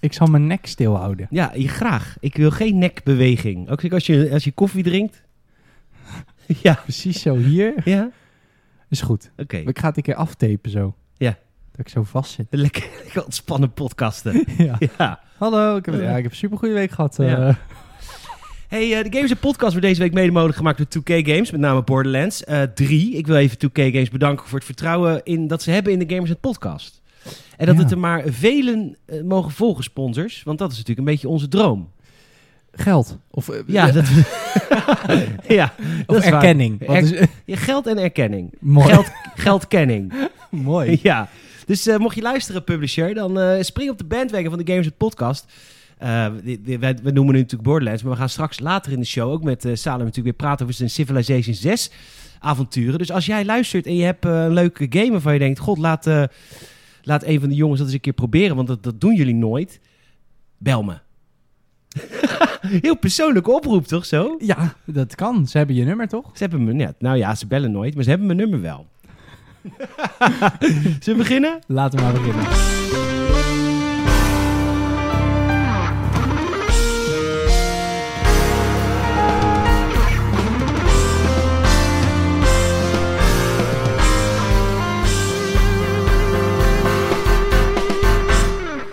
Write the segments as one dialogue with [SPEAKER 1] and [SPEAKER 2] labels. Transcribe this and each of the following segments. [SPEAKER 1] Ik zal mijn nek stilhouden.
[SPEAKER 2] Ja, je- graag. Ik wil geen nekbeweging. Ook als je, als je koffie drinkt. ja,
[SPEAKER 1] Precies zo hier.
[SPEAKER 2] ja. Oké.
[SPEAKER 1] Is goed. Ik ga het een keer aftapen zo.
[SPEAKER 2] Ja.
[SPEAKER 1] Dat ik zo vast zit.
[SPEAKER 2] Lekker, lekker ontspannen podcasten.
[SPEAKER 1] Ja.
[SPEAKER 2] ja.
[SPEAKER 1] Hallo, ik heb, ja, ik heb een supergoeie week gehad. eh.
[SPEAKER 2] Ja. Hey, eh, de Games en Podcast wordt deze week mede mogelijk gemaakt door 2K Games, met name Borderlands eh 3. Ik wil even 2K Games bedanken voor het vertrouwen in, dat ze hebben in de Gamers en Podcast. En dat
[SPEAKER 1] Ja.
[SPEAKER 2] het er maar velen eh, mogen volgen, sponsors, want dat is natuurlijk een beetje onze droom.
[SPEAKER 1] Geld. Of, eh,
[SPEAKER 2] Ja,
[SPEAKER 1] eh,
[SPEAKER 2] dat, ja, dat
[SPEAKER 1] of
[SPEAKER 2] is waar.
[SPEAKER 1] erkenning. Want
[SPEAKER 2] Er-
[SPEAKER 1] dus-
[SPEAKER 2] Ja, geld en erkenning.
[SPEAKER 1] mooi.
[SPEAKER 2] Geld, geldkenning.
[SPEAKER 1] mooi.
[SPEAKER 2] Ja, dus eh, mocht je luisteren, publisher, dan eh, spring op de bandwagon van de Games Podcast. Eh, di- di- wij- we noemen nu natuurlijk Borderlands, maar we gaan straks later in de show ook met eh, Salem natuurlijk weer praten over zijn Civilization 6 avonturen. Dus als jij luistert en je hebt eh, een leuke game waarvan je denkt, god, laat, eh, laat een van de jongens dat eens een keer proberen, want dat, dat doen jullie nooit. Bel me. Heel persoonlijke oproep, toch zo?
[SPEAKER 1] Ja, dat kan. Ze hebben je nummer toch?
[SPEAKER 2] Ze hebben me net. Nou ja, ze bellen nooit, maar ze hebben mijn nummer wel. Zullen we beginnen?
[SPEAKER 1] Laten we maar beginnen.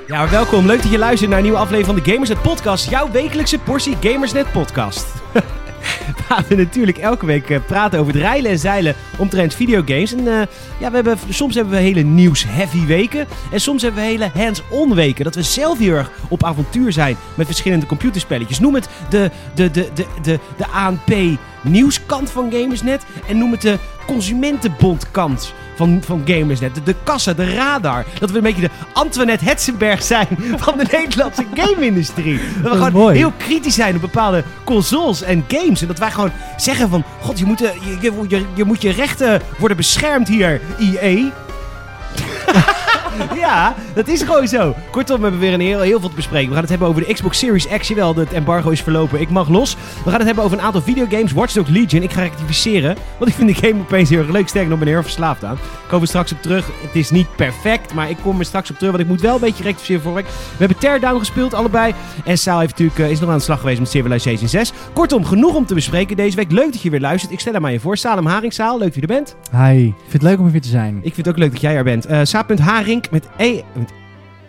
[SPEAKER 2] Ja, maar welkom. Leuk dat je luistert naar een nieuwe aflevering van de Gamersnet Podcast. Jouw wekelijkse portie Gamersnet Podcast. Waar we natuurlijk elke week eh, praten over het reilen en zeilen omtrent videogames. En eh, ja, we hebben, soms hebben we hele nieuws-heavy weken. En soms hebben we hele hands-on weken. Dat we zelf heel erg op avontuur zijn met verschillende computerspelletjes. Noem het de, de, de, de, de, de ANP-nieuwskant van Gamersnet. En noem het de consumentenbondkant van, van Gamersnet. De, de kassa, de radar. Dat we een beetje de Antoinette Hetzenberg zijn van de Nederlandse game-industrie. Dat we
[SPEAKER 1] is
[SPEAKER 2] gewoon
[SPEAKER 1] mooi.
[SPEAKER 2] heel kritisch zijn op bepaalde consoles en games. En dat wij gewoon zeggen van... God, je moet eh, je, je, je, je moet je rechten worden beschermd hier, E IE. ja, dat is gewoon zo. Kortom, we hebben weer een heel, heel veel te bespreken. We gaan het hebben over de Xbox Series X. Jawel, het embargo is verlopen. Ik mag los. We gaan het hebben over een aantal videogames. Watch Dogs Legion. Ik ga rectificeren. Want ik vind de game opeens heel erg leuk. Sterker nog, ik ben er heel erg verslaafd aan. Ik kom er straks op terug. Het is niet perfect, maar ik kom er straks op terug. Want ik moet wel een beetje rectificeren voor week. We hebben Teardown gespeeld, allebei. En Saal heeft natuurlijk, eh, is nog aan de slag geweest met Civilization 6. Kortom, genoeg om te bespreken deze week. Leuk dat je weer luistert. Ik stel hem aan je voor. Salem Haring, Saal, leuk dat je er bent.
[SPEAKER 1] Hi. Ik vind het leuk om er weer te zijn.
[SPEAKER 2] Ik vind het ook leuk dat jij er bent. Eh Saap.Haring met, e, met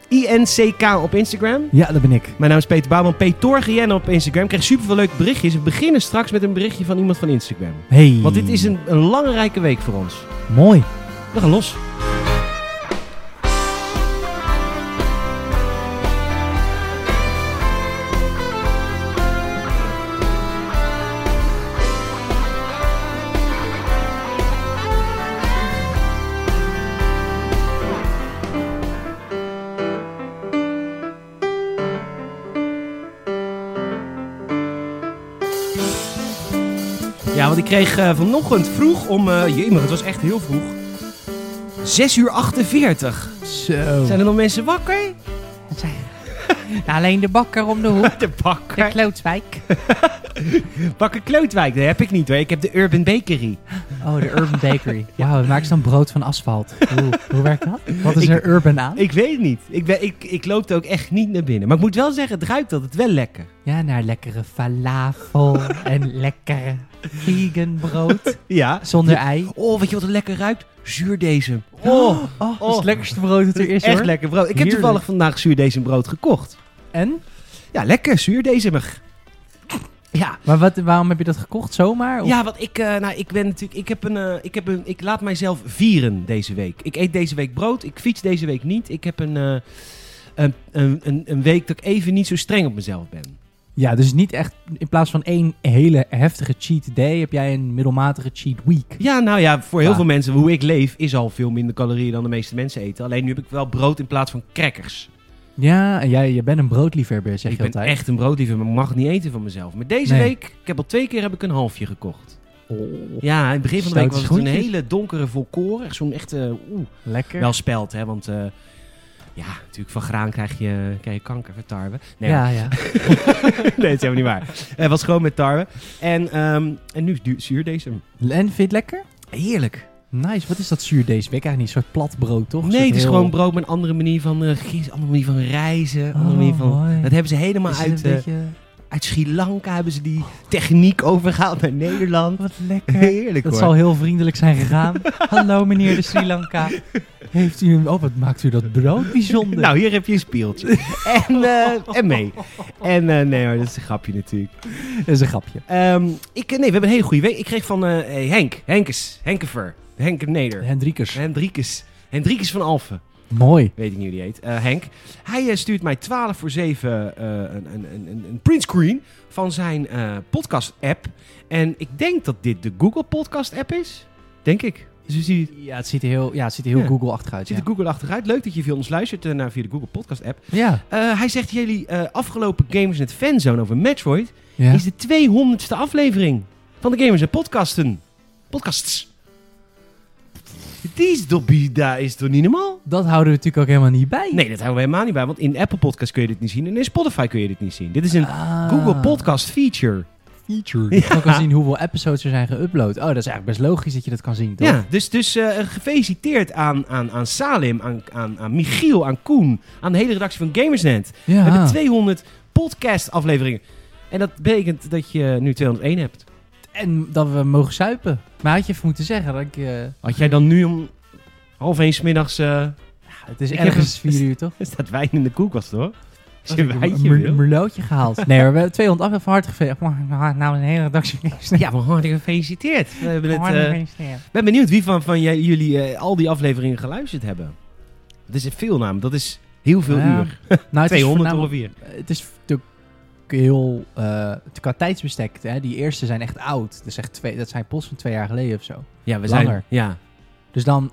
[SPEAKER 2] INCK op Instagram.
[SPEAKER 1] Ja, dat ben ik.
[SPEAKER 2] Mijn naam is Peter Bouwman, Petorgien op Instagram. Ik krijg superveel leuke berichtjes. We beginnen straks met een berichtje van iemand van Instagram.
[SPEAKER 1] Hey.
[SPEAKER 2] Want dit is een, een belangrijke week voor ons.
[SPEAKER 1] Mooi.
[SPEAKER 2] We gaan los. Ja, want ik kreeg eh, vanochtend vroeg om... eh jemig, het was echt heel vroeg. 6 uur 48.
[SPEAKER 1] Zo.
[SPEAKER 2] Zijn er nog mensen wakker?
[SPEAKER 1] alleen de bakker om de hoek.
[SPEAKER 2] De bakker.
[SPEAKER 1] Klootswijk.
[SPEAKER 2] Bakker Klootwijk, dat heb ik niet hoor. Ik heb de Urban Bakery.
[SPEAKER 1] Oh, de Urban Bakery. Wauw, maak ze dan brood van asfalt? Hoe, hoe werkt dat? Wat is
[SPEAKER 2] Ik-
[SPEAKER 1] er urban aan?
[SPEAKER 2] Ik weet het niet. Ik, ben, ik, ik loop er ook echt niet naar binnen. Maar ik moet wel zeggen, het ruikt altijd wel lekker.
[SPEAKER 1] Ja, naar lekkere falafel en lekkere vegan brood
[SPEAKER 2] Ja.
[SPEAKER 1] zonder ei.
[SPEAKER 2] Oh, weet je wat er lekker ruikt? Zuurdezen.
[SPEAKER 1] Oh,
[SPEAKER 2] Oh,
[SPEAKER 1] oh, dat is het lekkerste brood dat er is
[SPEAKER 2] echt
[SPEAKER 1] hoor.
[SPEAKER 2] lekker brood. Ik heb
[SPEAKER 1] Heerlijk.
[SPEAKER 2] toevallig vandaag zuurdesembrood gekocht.
[SPEAKER 1] En?
[SPEAKER 2] Ja, lekker zuurdezemig. Ja.
[SPEAKER 1] Maar wat, waarom heb je dat gekocht? Zomaar? Of-
[SPEAKER 2] Ja, want ik, eh, nou, ik ben natuurlijk, ik heb een, eh, ik heb een, ik laat mijzelf vieren deze week. Ik eet deze week brood, ik fiets deze week niet. Ik heb een, eh, een, een, een, een week dat ik even niet zo streng op mezelf ben.
[SPEAKER 1] Ja, dus niet echt. In plaats van één hele heftige cheat day heb jij een middelmatige cheat week.
[SPEAKER 2] Ja, nou ja, voor heel
[SPEAKER 1] Ja.
[SPEAKER 2] veel mensen, hoe ik leef, is al veel minder calorieën dan de meeste mensen eten. Alleen nu heb ik wel brood in plaats van crackers.
[SPEAKER 1] Ja, en jij je bent een broodliefhebber, zeg
[SPEAKER 2] ik
[SPEAKER 1] je
[SPEAKER 2] ben
[SPEAKER 1] altijd.
[SPEAKER 2] echt een broodliever, maar ik mag het niet eten van mezelf. Maar deze
[SPEAKER 1] Nee.
[SPEAKER 2] week, ik heb al twee keer heb ik een halfje gekocht.
[SPEAKER 1] Oh,
[SPEAKER 2] Ja, in het begin van de
[SPEAKER 1] Stoute
[SPEAKER 2] week was het een
[SPEAKER 1] schoentjes.
[SPEAKER 2] hele donkere volkoren. Echt zo'n echte, oeh,
[SPEAKER 1] lekker.
[SPEAKER 2] wel speld, hè. Want eh, ja, natuurlijk van graan krijg je, krijg je kanker van tarwe. Nee,
[SPEAKER 1] ja, ja.
[SPEAKER 2] nee, dat is helemaal niet waar. Eh, Het was gewoon met tarwe. En, ehm, en nu is du- zuurdesem.
[SPEAKER 1] En vind je het lekker?
[SPEAKER 2] Heerlijk.
[SPEAKER 1] Nice, wat is dat zuurdees? Ben ik eigenlijk niet een soort plat brood, toch? Een
[SPEAKER 2] nee,
[SPEAKER 1] soort
[SPEAKER 2] het is
[SPEAKER 1] heel-
[SPEAKER 2] gewoon brood met een andere manier van eh gist, andere manier van reizen, andere
[SPEAKER 1] Oh,
[SPEAKER 2] manier van...
[SPEAKER 1] mooi.
[SPEAKER 2] Dat hebben ze helemaal
[SPEAKER 1] Is het
[SPEAKER 2] uit,
[SPEAKER 1] een
[SPEAKER 2] eh,
[SPEAKER 1] beetje-
[SPEAKER 2] uit Sri Lanka hebben ze die techniek overgehaald naar Nederland.
[SPEAKER 1] Wat lekker.
[SPEAKER 2] Heerlijk
[SPEAKER 1] Dat
[SPEAKER 2] hoor.
[SPEAKER 1] zal heel vriendelijk zijn gegaan. Hallo meneer de Sri Lanka. Heeft u een... Oh, wat maakt u dat brood bijzonder?
[SPEAKER 2] Nou, hier heb je een spieltje. en, eh, en mee. En eh, nee hoor, dat is een grapje natuurlijk.
[SPEAKER 1] dat is een grapje.
[SPEAKER 2] Ehm, ik, eh, nee, we hebben een hele goede week. Ik kreeg van eh, eh, Henk, Henkes, Henkever, Henk Neder,
[SPEAKER 1] Hendrikers.
[SPEAKER 2] Hendrikes, Hendrikes van Alphen.
[SPEAKER 1] Eh, Mooi.
[SPEAKER 2] weet ik niet hoe die heet, Eh, Henk. Hij eh, stuurt mij 12 voor 7 eh, een, een, een, een- een printscreen van zijn eh, podcast-app. En ik denk dat dit de Google Podcast-app is. Denk ik. Dus je ziet,
[SPEAKER 1] Ja, het ziet er heel, ja, het ziet er heel
[SPEAKER 2] Ja.
[SPEAKER 1] Google-achtig uit.
[SPEAKER 2] ziet
[SPEAKER 1] Ja.
[SPEAKER 2] er Google achteruit. Leuk dat je veel ons luistert eh, naar via de Google Podcast-app.
[SPEAKER 1] ja.
[SPEAKER 2] Eh, hij zegt jullie eh, afgelopen Gamers Net Fanzone over Metroid
[SPEAKER 1] Ja.
[SPEAKER 2] is de 200ste aflevering van de Gamers Net Podcasten. Podcasts. Die is toch, bi- daar is toch niet normaal?
[SPEAKER 1] Dat houden we natuurlijk ook helemaal niet bij.
[SPEAKER 2] Nee, dat houden we helemaal niet bij. Want in Apple Podcast kun je dit niet zien. En in Spotify kun je dit niet zien. Dit is een
[SPEAKER 1] Ah.
[SPEAKER 2] Google Podcast feature.
[SPEAKER 1] feature. Je kan zien hoeveel episodes er zijn geüpload. Oh, dat is eigenlijk best logisch dat je dat kan zien, toch?
[SPEAKER 2] Ja, dus, dus eh, gefeliciteerd aan, aan, aan Salim, aan, aan, aan Michiel, aan Koen, aan de hele redactie van Gamersnet.
[SPEAKER 1] Ja.
[SPEAKER 2] We hebben 200 podcast afleveringen. En dat betekent dat je nu 201 hebt.
[SPEAKER 1] En dat we mogen suipen. Maar had je even moeten zeggen dat ik... eh,
[SPEAKER 2] Had jij dan nu om half één smiddags... eh
[SPEAKER 1] het is
[SPEAKER 2] Ik heb
[SPEAKER 1] ergens
[SPEAKER 2] een-
[SPEAKER 1] vier uur, toch?
[SPEAKER 2] er staat wijn in de koelkast hoor. Als je
[SPEAKER 1] Ik heb
[SPEAKER 2] wijntje
[SPEAKER 1] mer-
[SPEAKER 2] wil.
[SPEAKER 1] merlotje gehaald. Nee, hoor, we hebben 200 af van harte geveegd. Nou, een hele redactie.
[SPEAKER 2] Ja, maar hartelijk gefeliciteerd. We hebben het, eh, Ik ben benieuwd wie van, van jij- jullie eh, al die afleveringen geluisterd hebben. Dat is veel naam, dat is heel veel
[SPEAKER 1] Ja.
[SPEAKER 2] uur.
[SPEAKER 1] Nou, het is
[SPEAKER 2] 200
[SPEAKER 1] voornamelijk-
[SPEAKER 2] ongeveer.
[SPEAKER 1] Het is natuurlijk heel... eh, qua tijdsbestek, hè, die eerste zijn echt oud. Dat, is echt twee, dat zijn posts van twee jaar geleden of zo.
[SPEAKER 2] Ja, we
[SPEAKER 1] Langer.
[SPEAKER 2] zijn Ja.
[SPEAKER 1] Dus dan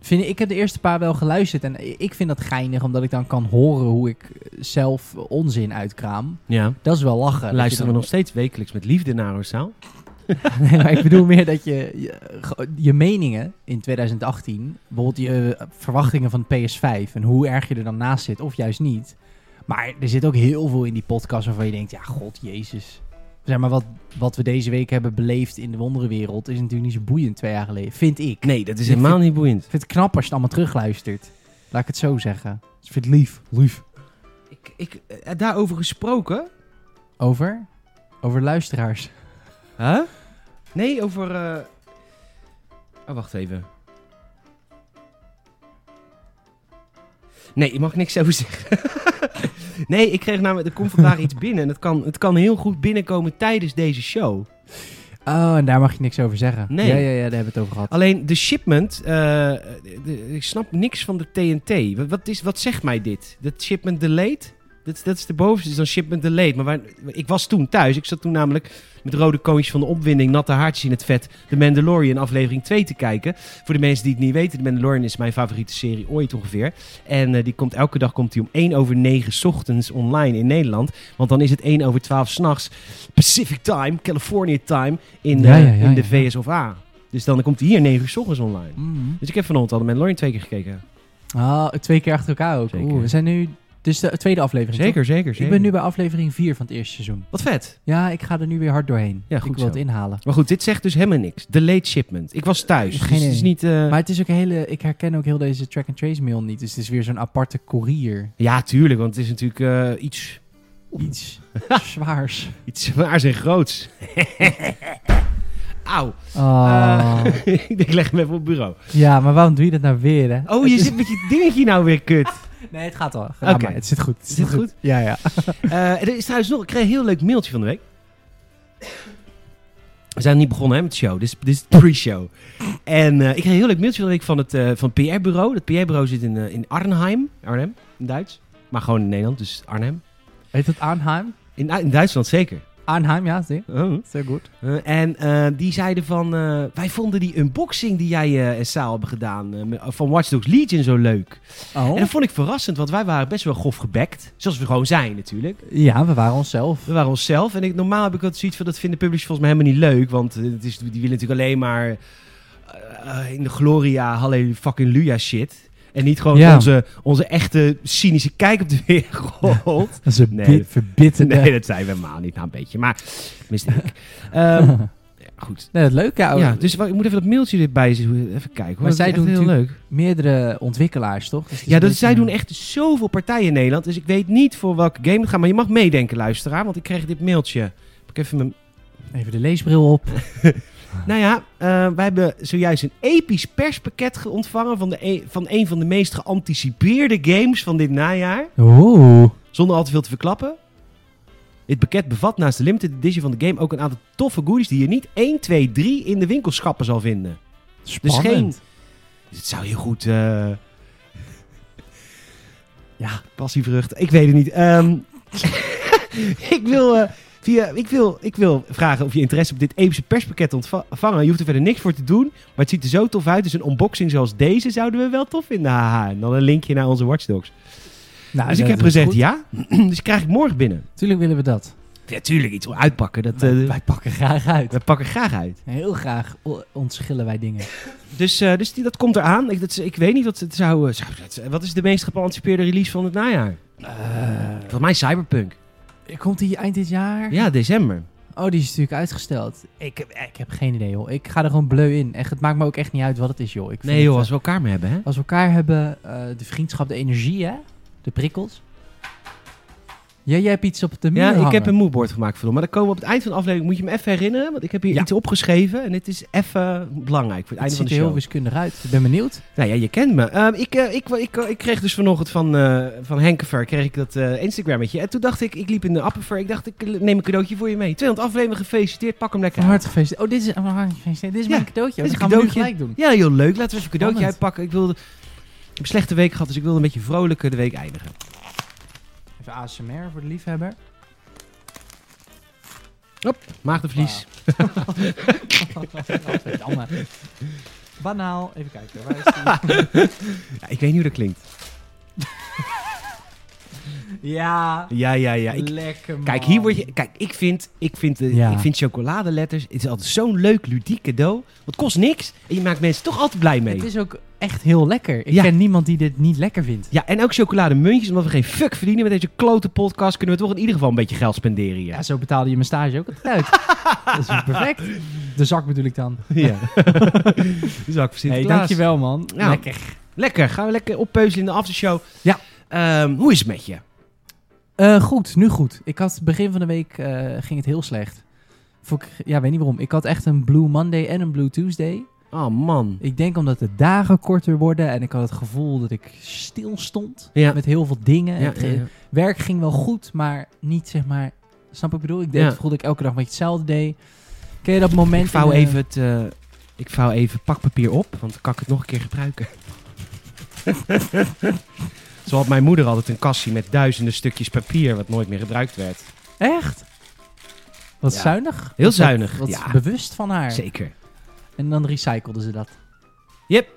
[SPEAKER 1] vind ik, ik heb de eerste paar wel geluisterd en ik vind dat geinig omdat ik dan kan horen hoe ik zelf onzin uitkraam.
[SPEAKER 2] ja.
[SPEAKER 1] Dat is wel lachen. Dat
[SPEAKER 2] Luisteren we
[SPEAKER 1] je
[SPEAKER 2] nog steeds wekelijks met liefde naar Rosaal?
[SPEAKER 1] dan- Nee, maar ik bedoel meer dat je, je ge- je meningen in 2018, bijvoorbeeld je eh, verwachtingen van PS5 en hoe erg je er dan naast zit of juist niet. Maar er zit ook heel veel in die podcast waarvan je denkt, ja, god, jezus. Zeg maar, wat, wat we deze week hebben beleefd in de wonderenwereld is natuurlijk niet zo boeiend twee jaar geleden, vind ik.
[SPEAKER 2] Nee, dat is
[SPEAKER 1] Ik
[SPEAKER 2] helemaal niet boeiend.
[SPEAKER 1] Ik vind het knap als je het allemaal terugluistert. Laat ik het zo zeggen. Dus ik vind het lief. Lief.
[SPEAKER 2] Ik, ik, eh, daarover gesproken?
[SPEAKER 1] Over? Over luisteraars.
[SPEAKER 2] Huh? Nee, over... eh, Oh, wacht even. Nee, je mag niks over zeggen. nee, ik kreeg namelijk... Er komt vandaag iets binnen en het kan, het kan heel goed binnenkomen tijdens deze show.
[SPEAKER 1] Oh, en daar mag je niks over zeggen.
[SPEAKER 2] Nee.
[SPEAKER 1] Ja, ja, ja, daar hebben we het over gehad.
[SPEAKER 2] Alleen de shipment, eh, de- de- ik snap niks van de TNT. Wat, wat, is, wat zegt mij dit? Dat shipment delayed? Dat, dat is de bovenste, is dan shipment delayed. Maar waar, ik was toen thuis, ik zat toen namelijk met rode koontjes van de opwinding, natte haartjes in het vet, The Mandalorian aflevering 2 te kijken. Voor de mensen die het niet weten, The Mandalorian is mijn favoriete serie ooit ongeveer. En eh, die komt elke dag komt die om 1 over 9 's ochtends online in Nederland. Want dan is het 1 over 12 s'nachts Pacific Time, California Time in,
[SPEAKER 1] Ja,
[SPEAKER 2] eh,
[SPEAKER 1] ja, ja,
[SPEAKER 2] in de
[SPEAKER 1] ja.
[SPEAKER 2] VSOA. Dus dan komt hij hier 9 uur 's ochtends online.
[SPEAKER 1] Mm.
[SPEAKER 2] Dus ik heb vanochtend al de Mandalorian twee keer gekeken.
[SPEAKER 1] Ah, twee keer achter elkaar ook.
[SPEAKER 2] Zeker.
[SPEAKER 1] Oeh, we zijn nu... Dit is de tweede aflevering, toch?
[SPEAKER 2] Zeker, zeker, zeker.
[SPEAKER 1] Ik ben nu bij aflevering 4 van het eerste seizoen.
[SPEAKER 2] Wat vet.
[SPEAKER 1] Ja, ik ga er nu weer hard doorheen.
[SPEAKER 2] Ja, goed
[SPEAKER 1] ik wil het
[SPEAKER 2] zo.
[SPEAKER 1] inhalen.
[SPEAKER 2] Maar goed, dit zegt dus helemaal niks. Delayed shipment. Ik was thuis.
[SPEAKER 1] Geen
[SPEAKER 2] dus het is
[SPEAKER 1] idee.
[SPEAKER 2] niet... eh,
[SPEAKER 1] Maar het is ook een hele... Ik herken ook heel deze track-and-trace mail niet. Dus het is weer zo'n aparte courier.
[SPEAKER 2] Ja, tuurlijk, want het is natuurlijk eh, iets,
[SPEAKER 1] Iets zwaars.
[SPEAKER 2] iets zwaars en groots. Auw.
[SPEAKER 1] Oh.
[SPEAKER 2] Eh, ik leg hem even op het bureau.
[SPEAKER 1] Ja, maar waarom doe je dat nou weer, hè?
[SPEAKER 2] Oh, je zit met je dingetje nou weer kut.
[SPEAKER 1] Nee, het gaat al. Oké,
[SPEAKER 2] Oké.
[SPEAKER 1] het zit goed. Het
[SPEAKER 2] Zit goed?
[SPEAKER 1] Ja, ja.
[SPEAKER 2] Eh, er is trouwens nog, ik kreeg een heel leuk mailtje van de week. We zijn niet begonnen hè, met de show, dit is, dit is de pre-show. En eh, ik kreeg een heel leuk mailtje van de week van het, eh, van het PR-bureau. Dat PR-bureau zit in, eh, in Arnhem, Arnhem, in Duits. Maar gewoon in Nederland, dus Arnhem.
[SPEAKER 1] Heet dat Arnhem?
[SPEAKER 2] In, ah, in Duitsland zeker.
[SPEAKER 1] Arnhem, ja, zie.
[SPEAKER 2] Oh.
[SPEAKER 1] Zeer goed.
[SPEAKER 2] Eh, en eh, die zeiden van, eh, wij vonden die unboxing die jij eh, en Saal hebben gedaan eh, met- van Watch Dogs Legion zo leuk.
[SPEAKER 1] Oh?
[SPEAKER 2] En dat vond ik verrassend, want wij waren best wel grof gebekt. Zoals we gewoon zijn natuurlijk.
[SPEAKER 1] Ja, we waren onszelf.
[SPEAKER 2] We waren onszelf. En ik, normaal heb ik altijd zoiets van, dat vinden publishers volgens mij helemaal niet leuk. Want eh, het is, die willen natuurlijk alleen maar eh, eh, in de gloria, halleluja, fucking luja shit. En niet gewoon
[SPEAKER 1] Ja.
[SPEAKER 2] onze, onze echte cynische kijk op de wereld.
[SPEAKER 1] Dat is een
[SPEAKER 2] Nee. bit
[SPEAKER 1] verbitterde...
[SPEAKER 2] Nee, dat zijn we helemaal niet. Nou, een beetje. Maar, tenminste ik. Ehm, goed.
[SPEAKER 1] Nee, dat leuke oude.
[SPEAKER 2] Ja, dus wa- ik moet even dat mailtje erbij zien. Even kijken. Hoor.
[SPEAKER 1] Oh. Maar
[SPEAKER 2] dat
[SPEAKER 1] zij
[SPEAKER 2] is echt
[SPEAKER 1] doen
[SPEAKER 2] heel leuk.
[SPEAKER 1] Meerdere ontwikkelaars, toch? Dus het is
[SPEAKER 2] Ja,
[SPEAKER 1] een
[SPEAKER 2] dat,
[SPEAKER 1] beetje-
[SPEAKER 2] zij doen echt zoveel partijen in Nederland. Dus ik weet niet voor welke game het gaat. Maar je mag meedenken, luisteraar. Want ik kreeg dit mailtje. Ik even mijn... e-
[SPEAKER 1] Even de leesbril op.
[SPEAKER 2] Nou ja, eh, wij hebben zojuist een episch perspakket ge- ontvangen... Van, de e- van een van de meest geanticipeerde games van dit najaar.
[SPEAKER 1] Oeh.
[SPEAKER 2] Zonder al te veel te verklappen. Dit pakket bevat naast de limited edition van de game... ook een aantal toffe goodies die je niet 1, 2, 3 in de winkelschappen zal vinden. Dus
[SPEAKER 1] Spannend.
[SPEAKER 2] geen... Dus het zou heel goed... eh
[SPEAKER 1] Ja.
[SPEAKER 2] passievrucht. Ik weet het niet. Ehm, ik, wil, eh, via, ik, wil, ik wil vragen of je interesse op dit epische perspakket ontva- ontvangen. Je hoeft er verder niks voor te doen. Maar het ziet er zo tof uit. Dus een unboxing zoals deze zouden we wel tof vinden. Haha. En dan een linkje naar onze watchdogs.
[SPEAKER 1] Nou,
[SPEAKER 2] dus ik
[SPEAKER 1] dat
[SPEAKER 2] heb
[SPEAKER 1] is
[SPEAKER 2] gezegd
[SPEAKER 1] goed.
[SPEAKER 2] ja. dus krijg ik morgen binnen.
[SPEAKER 1] Tuurlijk willen we dat.
[SPEAKER 2] Ja, tuurlijk. Iets om uitpakken. Dat,
[SPEAKER 1] Wij-
[SPEAKER 2] eh,
[SPEAKER 1] wij pakken graag uit.
[SPEAKER 2] we pakken graag uit.
[SPEAKER 1] Heel graag o- ontschillen wij dingen.
[SPEAKER 2] Dus, eh, dus die, dat komt eraan. Ik, dat, is- ik weet niet wat het zou, eh, zou... dat- Wat is de meest geanticipeerde release van het najaar? Volgens mij Cyberpunk.
[SPEAKER 1] Eh, Komt die eind dit jaar?
[SPEAKER 2] Ja, december.
[SPEAKER 1] Oh, die is natuurlijk uitgesteld. Ik, heb- ik heb geen idee, joh. Ik ga er gewoon bleu in. Echt, het maakt me ook echt niet uit wat het is, joh. Ik vind
[SPEAKER 2] Nee joh,
[SPEAKER 1] het,
[SPEAKER 2] als
[SPEAKER 1] eh,
[SPEAKER 2] we elkaar mee hebben hè.
[SPEAKER 1] als we elkaar hebben, eh, de vriendschap, de energie, hè? De prikkels. Ja, jij hebt iets op de muur
[SPEAKER 2] Ja, ik
[SPEAKER 1] hangen.
[SPEAKER 2] heb een moodboard gemaakt voor hem. Maar dan komen we op het eind van de aflevering. Moet je me even herinneren? Want ik heb hier
[SPEAKER 1] Ja.
[SPEAKER 2] iets opgeschreven. En dit is even belangrijk voor
[SPEAKER 1] Het
[SPEAKER 2] het, einde van
[SPEAKER 1] ziet
[SPEAKER 2] de
[SPEAKER 1] er heel
[SPEAKER 2] show.
[SPEAKER 1] wiskundig uit. Ik ben benieuwd.
[SPEAKER 2] Nou ja, je kent me. Ehm, ik, eh, ik, ik, ik kreeg dus vanochtend van, eh van Henkever kreeg ik dat eh Instagrammetje. En toen dacht ik, ik liep in de Appenver. Ik dacht, ik neem een cadeautje voor je mee. 200 afleveringen gefeliciteerd. Pak hem lekker
[SPEAKER 1] Van harte gefeliciteerd. Oh, dit is, van harte gefeliciteerd. Dit is
[SPEAKER 2] Ja,
[SPEAKER 1] mijn cadeautje.
[SPEAKER 2] dit
[SPEAKER 1] Dat
[SPEAKER 2] is
[SPEAKER 1] gaan
[SPEAKER 2] een
[SPEAKER 1] we nu
[SPEAKER 2] cadeautje.
[SPEAKER 1] gelijk doen.
[SPEAKER 2] Ja joh, leuk. Laten we even een cadeautje
[SPEAKER 1] Spannend.
[SPEAKER 2] uitpakken. Ik wilde... Ik heb een slechte week gehad, dus ik wilde een beetje vrolijker de week eindigen.
[SPEAKER 1] Even ASMR voor de liefhebber.
[SPEAKER 2] Maagdenvlies.
[SPEAKER 1] Gadverdamme. Banaal. Even kijken. Waar is die?
[SPEAKER 2] Ja, ik weet niet hoe dat klinkt.
[SPEAKER 1] ja.
[SPEAKER 2] Ja, ja, ja. Ik,
[SPEAKER 1] Lekker man.
[SPEAKER 2] Kijk, hier word je. Kijk, ik vind, ik vind, eh,
[SPEAKER 1] Ja.
[SPEAKER 2] ik vind chocoladeletters. Het is altijd zo'n leuk, ludiek cadeau. Want het kost niks. En je maakt mensen toch altijd blij mee.
[SPEAKER 1] Het is ook echt heel lekker. Ik
[SPEAKER 2] Ja.
[SPEAKER 1] ken niemand die dit niet lekker vindt.
[SPEAKER 2] Ja, en ook chocolademuntjes. Omdat we geen fuck verdienen met deze klote podcast. Kunnen we toch in ieder geval een beetje geld spenderen hier.
[SPEAKER 1] Ja, zo betaalde je mijn stage ook altijd uit. dat is perfect. De zak bedoel ik dan.
[SPEAKER 2] ja. dus ook voor
[SPEAKER 1] Hey,
[SPEAKER 2] Sinterklaas.
[SPEAKER 1] dankjewel man.
[SPEAKER 2] Ja.
[SPEAKER 1] Lekker.
[SPEAKER 2] Lekker. Gaan we lekker oppeuzelen in de aftershow.
[SPEAKER 1] Ja.
[SPEAKER 2] Ehm, hoe is het met je?
[SPEAKER 1] Eh, goed, nu goed. Ik had begin van de week eh, ging het heel slecht. Vond ik- ja, weet niet waarom. Ik had echt een Blue Monday en een Blue Tuesday.
[SPEAKER 2] Oh man.
[SPEAKER 1] Ik denk omdat de dagen korter worden en ik had het gevoel dat ik stil stond
[SPEAKER 2] Ja.
[SPEAKER 1] met heel veel dingen. En
[SPEAKER 2] Ja,
[SPEAKER 1] het
[SPEAKER 2] ja,
[SPEAKER 1] ge-
[SPEAKER 2] ja.
[SPEAKER 1] werk ging wel goed, maar niet zeg maar. Snap wat ik bedoel? Ik deed,
[SPEAKER 2] Ja.
[SPEAKER 1] het voelde ik elke dag een beetje hetzelfde deed. Ken je dat moment?
[SPEAKER 2] Ik
[SPEAKER 1] in
[SPEAKER 2] vouw
[SPEAKER 1] de-
[SPEAKER 2] even het. eh, ik vouw even pakpapier op, want dan kan ik het nog een keer gebruiken. Zo had mijn moeder altijd een kassie met duizenden stukjes papier wat nooit meer gebruikt werd.
[SPEAKER 1] Echt? Wat
[SPEAKER 2] Ja.
[SPEAKER 1] zuinig.
[SPEAKER 2] Heel
[SPEAKER 1] Wat-
[SPEAKER 2] zuinig,
[SPEAKER 1] Wat,
[SPEAKER 2] ja.
[SPEAKER 1] bewust van haar.
[SPEAKER 2] Zeker.
[SPEAKER 1] En dan recycleden ze dat.
[SPEAKER 2] Yep.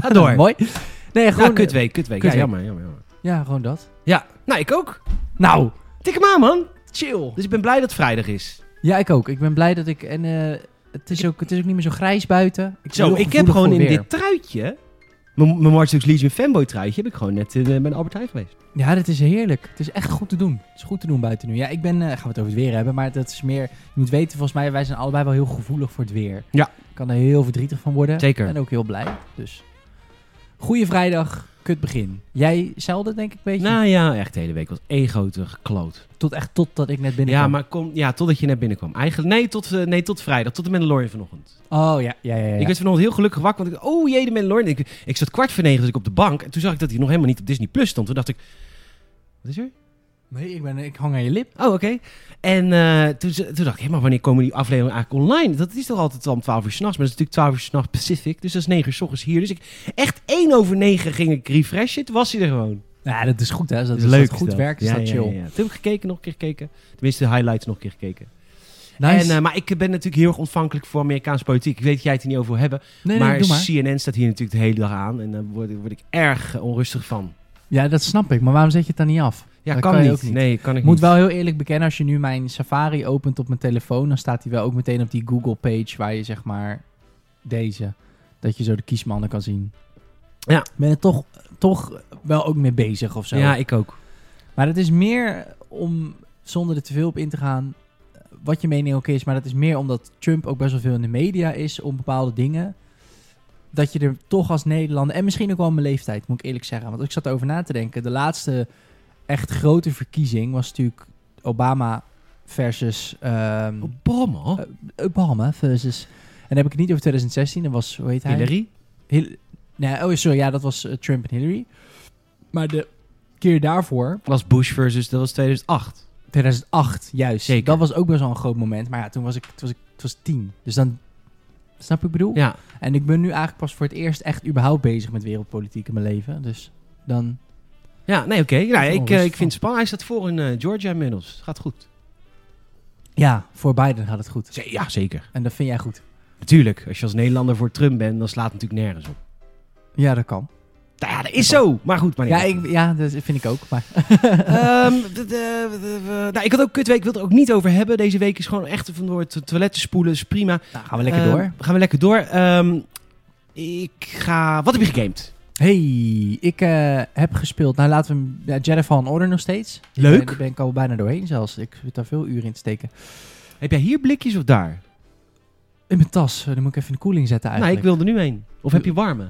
[SPEAKER 2] Ga door. Nou,
[SPEAKER 1] Mooi. Nee,
[SPEAKER 2] Gewoon
[SPEAKER 1] gewoon,
[SPEAKER 2] ja, kutweek, kutweek. Ja,
[SPEAKER 1] kutweek.
[SPEAKER 2] jammer, jammer, jammer.
[SPEAKER 1] ja, gewoon dat.
[SPEAKER 2] Ja, nou ik ook.
[SPEAKER 1] Nou,
[SPEAKER 2] Tik hem aan, man.
[SPEAKER 1] chill.
[SPEAKER 2] Dus ik ben blij dat het vrijdag is.
[SPEAKER 1] Ja, ik ook. Ik ben blij dat ik... En eh, het, is ook, het is ook niet meer zo grijs buiten. Ik ben
[SPEAKER 2] Zo,
[SPEAKER 1] heel
[SPEAKER 2] ik heb
[SPEAKER 1] gevoelig
[SPEAKER 2] gewoon in
[SPEAKER 1] voor weer.
[SPEAKER 2] dit truitje, mijn mijn Watch Dogs Legion fanboy truitje, heb ik gewoon net eh, bij de Albert Heijn geweest.
[SPEAKER 1] Ja, dit is heerlijk. Het is echt goed te doen. Het is goed te doen buiten nu. Ja, ik ben... eh, gaan we het over het weer hebben, maar dat is meer... Je moet weten, volgens mij, wij zijn allebei wel heel gevoelig voor het weer.
[SPEAKER 2] Ja.
[SPEAKER 1] Ik kan er heel verdrietig van worden.
[SPEAKER 2] Zeker.
[SPEAKER 1] En ook heel blij, dus... Goeie vrijdag, kut begin. Jij zelden, denk ik, een beetje.
[SPEAKER 2] Nou ja, echt de hele week was één grote kloot.
[SPEAKER 1] Tot echt totdat ik net binnen
[SPEAKER 2] Ja,
[SPEAKER 1] kwam.
[SPEAKER 2] maar kom, ja, totdat je net binnenkwam. Eigenlijk, nee, tot, eh, nee, tot vrijdag, tot de Mandalorian vanochtend.
[SPEAKER 1] Oh, ja, ja, ja. ja.
[SPEAKER 2] Ik werd vanochtend heel gelukkig wakker, want ik dacht, oh jee, de Mandalorian. Ik, ik zat kwart voor negen dus ik op de bank en toen zag ik dat hij nog helemaal niet op Disney Plus stond. Toen dacht ik, wat is er?
[SPEAKER 1] Nee, ik, ben, ik hang aan je lip.
[SPEAKER 2] Oh, oké. En eh, toen, ze- toen dacht ik, hé, maar wanneer komen die afleveringen eigenlijk online? Dat is toch altijd om 12 uur s'nachts, maar dat is natuurlijk 12 uur s'nachts Pacific, dus dat is 9 uur s ochtends hier. Dus ik, echt 1 over 9 ging ik refreshen, toen was hij er gewoon. Dus
[SPEAKER 1] Ja, dat is goed, hè. Als dat,
[SPEAKER 2] Dat
[SPEAKER 1] als dat
[SPEAKER 2] is
[SPEAKER 1] goed
[SPEAKER 2] dat.
[SPEAKER 1] werkt, is
[SPEAKER 2] Ja,
[SPEAKER 1] dat
[SPEAKER 2] ja,
[SPEAKER 1] chill.
[SPEAKER 2] ja, ja. Toen heb ik gekeken, nog een keer gekeken. Tenminste, de highlights nog een keer gekeken.
[SPEAKER 1] Nice.
[SPEAKER 2] En, eh, maar ik ben natuurlijk heel erg ontvankelijk voor Amerikaanse politiek. Ik weet dat jij het er niet over wil hebben.
[SPEAKER 1] nee, nee,
[SPEAKER 2] maar,
[SPEAKER 1] doe maar.
[SPEAKER 2] CNN staat hier natuurlijk de hele dag aan. En daar word, word ik erg eh, onrustig van.
[SPEAKER 1] Ja, dat snap ik. Maar waarom zet je het dan niet af?
[SPEAKER 2] Ja,
[SPEAKER 1] Dat
[SPEAKER 2] kan,
[SPEAKER 1] kan je
[SPEAKER 2] niet.
[SPEAKER 1] ook niet.
[SPEAKER 2] Nee, kan ik
[SPEAKER 1] Ik moet
[SPEAKER 2] niet.
[SPEAKER 1] wel heel eerlijk bekennen, als je nu mijn Safari opent op mijn telefoon, dan staat hij wel ook meteen op die Google page waar je zeg maar deze, dat je zo de kiesmannen kan zien.
[SPEAKER 2] Ja.
[SPEAKER 1] Ik Ben er toch, toch wel ook mee bezig of zo.
[SPEAKER 2] Ja, ik ook.
[SPEAKER 1] Maar het is meer om, zonder er te veel op in te gaan, eh, wat je mening ook is, maar dat is meer omdat Trump ook best wel veel in de media is om bepaalde dingen. Dat je er toch als Nederlander, en misschien ook wel mijn leeftijd, moet ik eerlijk zeggen. Want ik zat erover na te denken. De laatste echt grote verkiezing was natuurlijk Obama versus ehm,
[SPEAKER 2] Oh, Obama?
[SPEAKER 1] Obama versus. En dan heb ik het niet over 2016, dat was, hoe heet hij?
[SPEAKER 2] Hillary?
[SPEAKER 1] Hil- nee, oh, sorry, ja, dat was eh, Trump en Hillary. Maar de keer daarvoor
[SPEAKER 2] was Bush versus, dat was 2008.
[SPEAKER 1] 2008, juist.
[SPEAKER 2] Zeker.
[SPEAKER 1] Dat was ook best wel een groot moment. Maar ja, toen was ik, toen was ik toen was ik tien. Dus dan, snap je wat ik bedoel?
[SPEAKER 2] Ja.
[SPEAKER 1] En ik ben nu eigenlijk pas voor het eerst echt überhaupt bezig met wereldpolitiek in mijn leven. Dus dan...
[SPEAKER 2] Ja, nee, oké. Nou,
[SPEAKER 1] Oh,
[SPEAKER 2] ik,
[SPEAKER 1] rustig
[SPEAKER 2] eh, ik
[SPEAKER 1] van.
[SPEAKER 2] vind het spannend. Hij staat voor in eh, Georgia inmiddels. Gaat goed.
[SPEAKER 1] Ja, voor Biden gaat het goed.
[SPEAKER 2] Ze- ja, zeker.
[SPEAKER 1] En dat vind jij goed.
[SPEAKER 2] Natuurlijk. Als je als Nederlander voor Trump bent, dan slaat het natuurlijk nergens op.
[SPEAKER 1] Ja, dat kan.
[SPEAKER 2] Nou Ja, dat is zo. Maar goed, maar niet.
[SPEAKER 1] Ja, ik, ja dat vind ik ook. Maar
[SPEAKER 2] Ehm, d- d- d- d- nou, ik had ook kutweek. Ik wil het er ook niet over hebben. Deze week is gewoon echt van door het toilet te spoelen. Is prima.
[SPEAKER 1] nou, gaan we lekker
[SPEAKER 2] Ehm,
[SPEAKER 1] door.
[SPEAKER 2] Gaan we lekker door. Ehm, ik ga... Wat heb je gegamed?
[SPEAKER 1] Hey, ik eh, heb gespeeld. Nou, laten we hem- ja, Jedi Fallen Order nog steeds. Ik
[SPEAKER 2] Leuk.
[SPEAKER 1] ben- Daar ben ik al bijna doorheen zelfs. Ik zit daar veel uren in te steken.
[SPEAKER 2] Heb jij hier blikjes of daar?
[SPEAKER 1] In mijn tas. eh, Dan moet ik even in de koeling zetten
[SPEAKER 2] Nou,
[SPEAKER 1] eigenlijk.
[SPEAKER 2] ik wil er nu heen. Of heb je warme?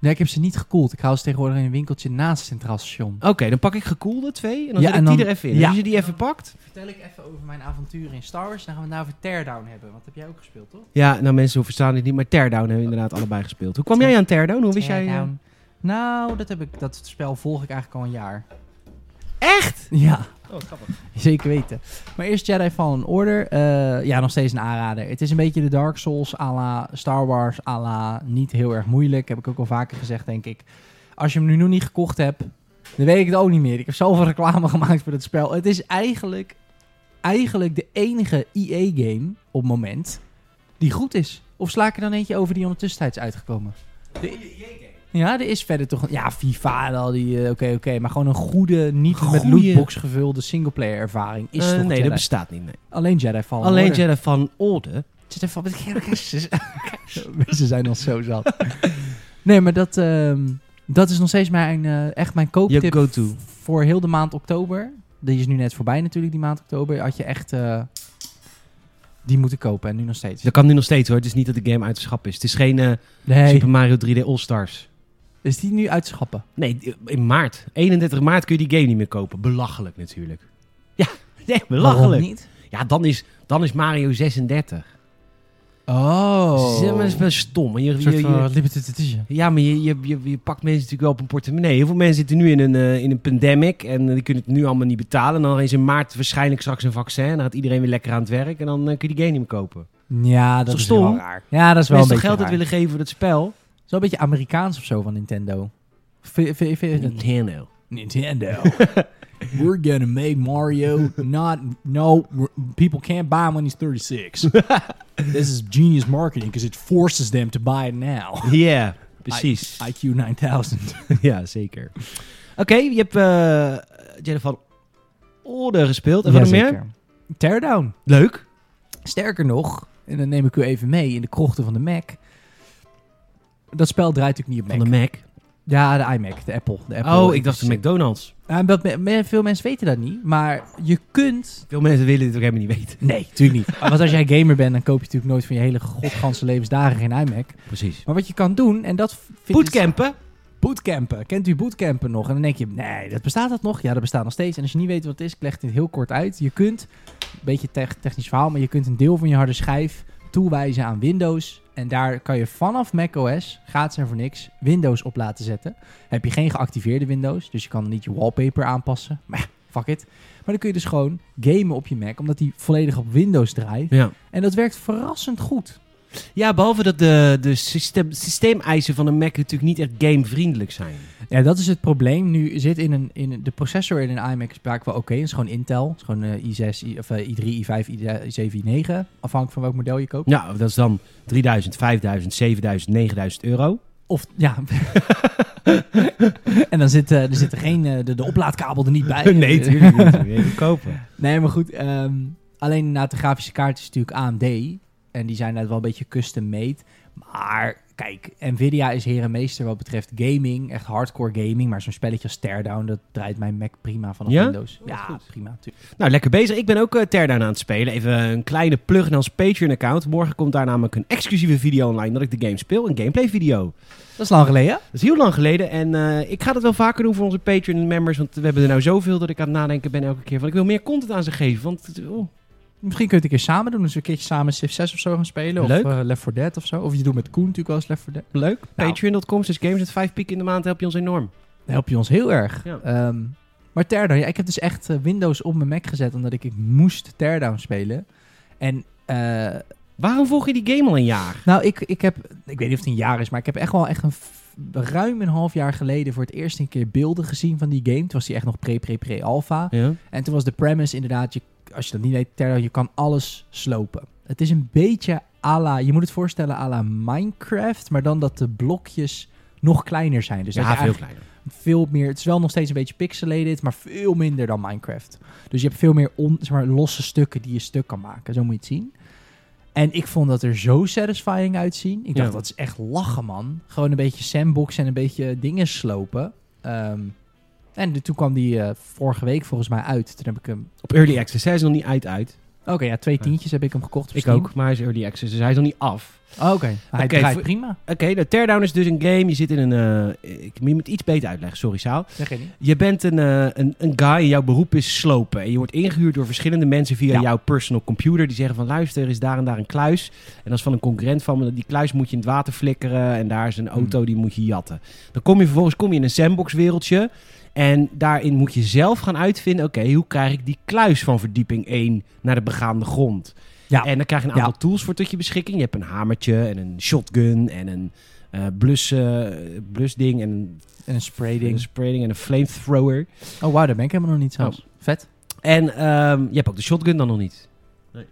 [SPEAKER 1] Nee, ik heb ze niet gekoeld. Ik hou ze tegenwoordig in een winkeltje naast het Centraal Station.
[SPEAKER 2] Oké, dan pak ik gekoelde twee. En dan
[SPEAKER 1] Ja,
[SPEAKER 2] zet ik
[SPEAKER 1] en
[SPEAKER 2] die
[SPEAKER 1] dan-
[SPEAKER 2] er even in.
[SPEAKER 1] ja.
[SPEAKER 2] Als je die even pakt...
[SPEAKER 1] Vertel ik even over mijn avonturen in Star Wars. Dan gaan we het nou over Teardown hebben. Want heb jij ook gespeeld, toch?
[SPEAKER 2] Ja, nou mensen verstaan dit niet, maar Teardown hebben we inderdaad allebei gespeeld. Hoe kwam jij aan Teardown? Hoe wist jij... eh,
[SPEAKER 1] Nou, dat, heb ik, dat spel volg ik eigenlijk al een jaar.
[SPEAKER 2] Echt?
[SPEAKER 1] Ja,
[SPEAKER 2] Oh, grappig.
[SPEAKER 1] zeker weten. Maar eerst Jedi Fallen Order. Eh, ja, nog steeds een aanrader. Het is een beetje de Dark Souls à la Star Wars à la niet heel erg moeilijk. Heb ik ook al vaker gezegd, denk ik. Als je hem nu nog niet gekocht hebt, dan weet ik het ook niet meer. Ik heb zoveel reclame gemaakt voor het spel. Het is eigenlijk, eigenlijk de enige EA-game op het moment die goed is. Of sla ik er dan eentje over die ondertussen tijds uitgekomen? E Ja, er is verder toch... Ja, FIFA en al die... eh, Oké, oké. maar gewoon een goede, niet met
[SPEAKER 2] Goeie.
[SPEAKER 1] lootbox gevulde singleplayer ervaring is
[SPEAKER 2] Eh,
[SPEAKER 1] toch
[SPEAKER 2] nee,
[SPEAKER 1] Jedi. Oh,
[SPEAKER 2] dat bestaat niet. Nee.
[SPEAKER 1] Alleen Jedi Fallen
[SPEAKER 2] Alleen
[SPEAKER 1] Order.
[SPEAKER 2] Jedi van Orde.
[SPEAKER 1] Jedi Fallen... Ze zijn al zo zat. nee, maar dat, ehm, dat is nog steeds mijn, eh, echt mijn kooptip
[SPEAKER 2] Je go-to.
[SPEAKER 1] voor heel de maand oktober. Die is nu net voorbij natuurlijk, die maand oktober. Had je echt... eh, die moeten kopen en nu nog steeds.
[SPEAKER 2] Dat kan nu nog steeds hoor. Het is niet dat de game uit de schap is. Het is geen eh,
[SPEAKER 1] Nee,
[SPEAKER 2] Super Mario 3D All-Stars.
[SPEAKER 1] is die nu uit te schappen?
[SPEAKER 2] Nee, in maart. 31 maart kun je die game niet meer kopen. Belachelijk natuurlijk. Ja, nee, belachelijk.
[SPEAKER 1] Waarom niet?
[SPEAKER 2] Ja, dan is, dan is Mario 36.
[SPEAKER 1] Oh.
[SPEAKER 2] Zeg maar, dat is wel stom. En je-
[SPEAKER 1] Een
[SPEAKER 2] je-
[SPEAKER 1] soort
[SPEAKER 2] je-
[SPEAKER 1] van limited edition.
[SPEAKER 2] ja, maar je, je, je, je pakt mensen natuurlijk wel op een portemonnee. Heel veel mensen zitten nu in een, eh, in een pandemic en eh, die kunnen het nu allemaal niet betalen. En dan is in maart waarschijnlijk straks een vaccin. Dan gaat iedereen weer lekker aan het werk en dan eh, kun je die game niet meer kopen.
[SPEAKER 1] Ja, dat,
[SPEAKER 2] toch
[SPEAKER 1] is
[SPEAKER 2] stom?
[SPEAKER 1] wel raar. Ja, dat is wel
[SPEAKER 2] Mensen
[SPEAKER 1] een beetje
[SPEAKER 2] geld
[SPEAKER 1] raar.
[SPEAKER 2] uit willen geven voor dat spel.
[SPEAKER 1] Zo een beetje Amerikaans of zo van Nintendo. V- v- v-
[SPEAKER 2] Nintendo.
[SPEAKER 1] Nintendo. We're gonna make Mario not no people can't buy him when he's 36. This is genius marketing because it forces them to buy it now.
[SPEAKER 2] Ja, precies.
[SPEAKER 1] IQ 9000.
[SPEAKER 2] Ja, zeker. Oké, je hebt eh Jedi van Orde gespeeld. En wat nog meer?
[SPEAKER 1] Teardown.
[SPEAKER 2] Leuk.
[SPEAKER 1] Sterker nog, en dan neem ik u even mee in de krochten van de Mac. Dat spel draait natuurlijk niet op Mac.
[SPEAKER 2] Van de Mac.
[SPEAKER 1] Ja, de iMac, de Apple. De Apple
[SPEAKER 2] Oh, ik dacht de McDonald's.
[SPEAKER 1] Ja, dat me- me- veel mensen weten dat niet, maar je kunt...
[SPEAKER 2] Veel mensen willen dit ook helemaal niet weten.
[SPEAKER 1] Nee, natuurlijk niet. Want als jij gamer bent, dan koop je natuurlijk nooit van je hele godganse levensdagen geen iMac.
[SPEAKER 2] Precies.
[SPEAKER 1] Maar wat je kan doen, en dat vind ik-
[SPEAKER 2] Bootcampen.
[SPEAKER 1] bootcampen. Kent u bootcampen nog? En dan denk je, nee, dat bestaat dat nog? Ja, dat bestaat nog steeds. En als je niet weet wat het is, ik leg dit heel kort uit. Je kunt, een beetje tech- technisch verhaal, maar je kunt een deel van je harde schijf toewijzen aan Windows. En daar kan je vanaf macOS, gratis en voor niks, Windows op laten zetten. Heb je geen geactiveerde Windows, dus je kan niet je wallpaper aanpassen. Maar ja, fuck it. Maar dan kun je dus gewoon gamen op je Mac, omdat die volledig op Windows draait.
[SPEAKER 2] Ja.
[SPEAKER 1] En dat werkt verrassend goed.
[SPEAKER 2] ja, behalve dat de, de systeem, systeemeisen van een Mac natuurlijk niet echt gamevriendelijk zijn.
[SPEAKER 1] Ja, dat is het probleem. Nu zit in een, in een- de processor in een iMac is vaak wel oké. Het is gewoon Intel. Het is gewoon eh, i6, i, of, eh, i3, i5, i7, i9. Afhankelijk van welk model je koopt.
[SPEAKER 2] Nou, dat is dan 3000, 5000, 7000, 9000 euro.
[SPEAKER 1] Of, ja. en dan zit, eh, er zit er geen, eh, de, de oplaadkabel er niet bij.
[SPEAKER 2] nee, tuurlijk niet. Dat wil je niet kopen.
[SPEAKER 1] Nee, maar goed. ehm, alleen inderdaad, de grafische kaart is natuurlijk AMD. En die zijn net wel een beetje custom made. Maar kijk, Nvidia is heer en meester wat betreft gaming. Echt hardcore gaming. Maar zo'n spelletje als Teardown, dat draait mijn Mac prima vanaf
[SPEAKER 2] Ja?
[SPEAKER 1] Windows. Ja,
[SPEAKER 2] goed.
[SPEAKER 1] prima. tuurlijk.
[SPEAKER 2] Nou, lekker bezig. Ik ben ook eh, Teardown aan het spelen. Even een kleine plug naar ons Patreon-account. Morgen komt daar namelijk een exclusieve video online dat ik de game speel. Een gameplay-video.
[SPEAKER 1] Dat is lang geleden.
[SPEAKER 2] Dat is heel lang geleden. En eh, ik ga dat wel vaker doen voor onze Patreon-members. Want we hebben er nou zoveel dat ik aan het nadenken ben elke keer. Van ik wil meer content aan ze geven. Want het- oh,
[SPEAKER 1] Misschien kun je het een keer samen doen. Dus een keertje samen Civ 6 of zo gaan spelen.
[SPEAKER 2] Leuk.
[SPEAKER 1] Of eh, Left 4 Dead of zo. Of je doet met Koen natuurlijk wel eens Left 4 Dead.
[SPEAKER 2] leuk.
[SPEAKER 1] Nou.
[SPEAKER 2] Patreon.com, dus games met 5 piek in de maand help je ons enorm.
[SPEAKER 1] Dan help je ons heel erg.
[SPEAKER 2] Ja.
[SPEAKER 1] Ehm, maar Teardown, ja, ik heb dus echt eh, Windows op mijn Mac gezet. Omdat ik, ik moest Teardown spelen. En eh,
[SPEAKER 2] Waarom volg je die game al een jaar?
[SPEAKER 1] nou, ik, ik heb, ik weet niet of het een jaar is, maar ik heb echt wel echt een f- ruim een half jaar geleden voor het eerst een keer beelden gezien van die game. Toen was die echt nog pre-pre-pre-alpha.
[SPEAKER 2] Ja.
[SPEAKER 1] En toen was de premise inderdaad, je, als je dat niet weet, Terra, je kan alles slopen. Het is een beetje à la, je moet het voorstellen à la Minecraft, maar dan dat de blokjes nog kleiner zijn. Dus
[SPEAKER 2] ja,
[SPEAKER 1] dat je
[SPEAKER 2] veel
[SPEAKER 1] eigenlijk
[SPEAKER 2] kleiner.
[SPEAKER 1] veel meer, het is wel nog steeds een beetje pixelated, maar veel minder dan Minecraft. Dus je hebt veel meer on, zeg maar, losse stukken die je stuk kan maken, zo moet je het zien. En ik vond dat er zo satisfying uitzien. Ik dacht,
[SPEAKER 2] Ja.
[SPEAKER 1] dat is echt lachen, man. Gewoon een beetje sandbox en een beetje dingen slopen. Ehm, en de- toen kwam die eh, vorige week volgens mij uit. Toen heb ik hem
[SPEAKER 2] Op Early Access. Hij is nog niet uit uit.
[SPEAKER 1] Oké, ja, twee tientjes heb ik hem gekocht. op
[SPEAKER 2] Ik
[SPEAKER 1] Steam.
[SPEAKER 2] ook, maar hij is Early Access. Dus hij is nog niet af.
[SPEAKER 1] Oh, Oké, hij
[SPEAKER 2] Oké,
[SPEAKER 1] draait
[SPEAKER 2] voor-
[SPEAKER 1] prima.
[SPEAKER 2] Oké, de teardown is dus een game. Je zit in een... eh, ik moet het iets beter uitleggen, sorry Saal.
[SPEAKER 1] Zeg je niet?
[SPEAKER 2] Je bent een, eh, een, een guy en jouw beroep is slopen. En je wordt ingehuurd door verschillende mensen via
[SPEAKER 1] Ja.
[SPEAKER 2] jouw personal computer. Die zeggen van luister, er is daar en daar een kluis. En dat is van een concurrent van me. Die kluis moet je in het water flikkeren. En daar is
[SPEAKER 1] Hmm.
[SPEAKER 2] een auto, die moet je jatten. Dan kom je vervolgens kom je in een sandbox wereldje. En daarin moet je zelf gaan uitvinden... oké, hoe krijg ik die kluis van verdieping 1 naar de begaande grond?
[SPEAKER 1] Ja.
[SPEAKER 2] En dan krijg je een aantal
[SPEAKER 1] Ja.
[SPEAKER 2] tools voor tot je beschikking. Je hebt een hamertje en een shotgun en een eh, blus, eh, blusding en een
[SPEAKER 1] En een sprayding.
[SPEAKER 2] een sprayding en een flamethrower.
[SPEAKER 1] Oh, wauw, daar ben ik helemaal nog niet zelfs. Vet.
[SPEAKER 2] En ehm, je hebt ook de shotgun dan nog niet. Nee.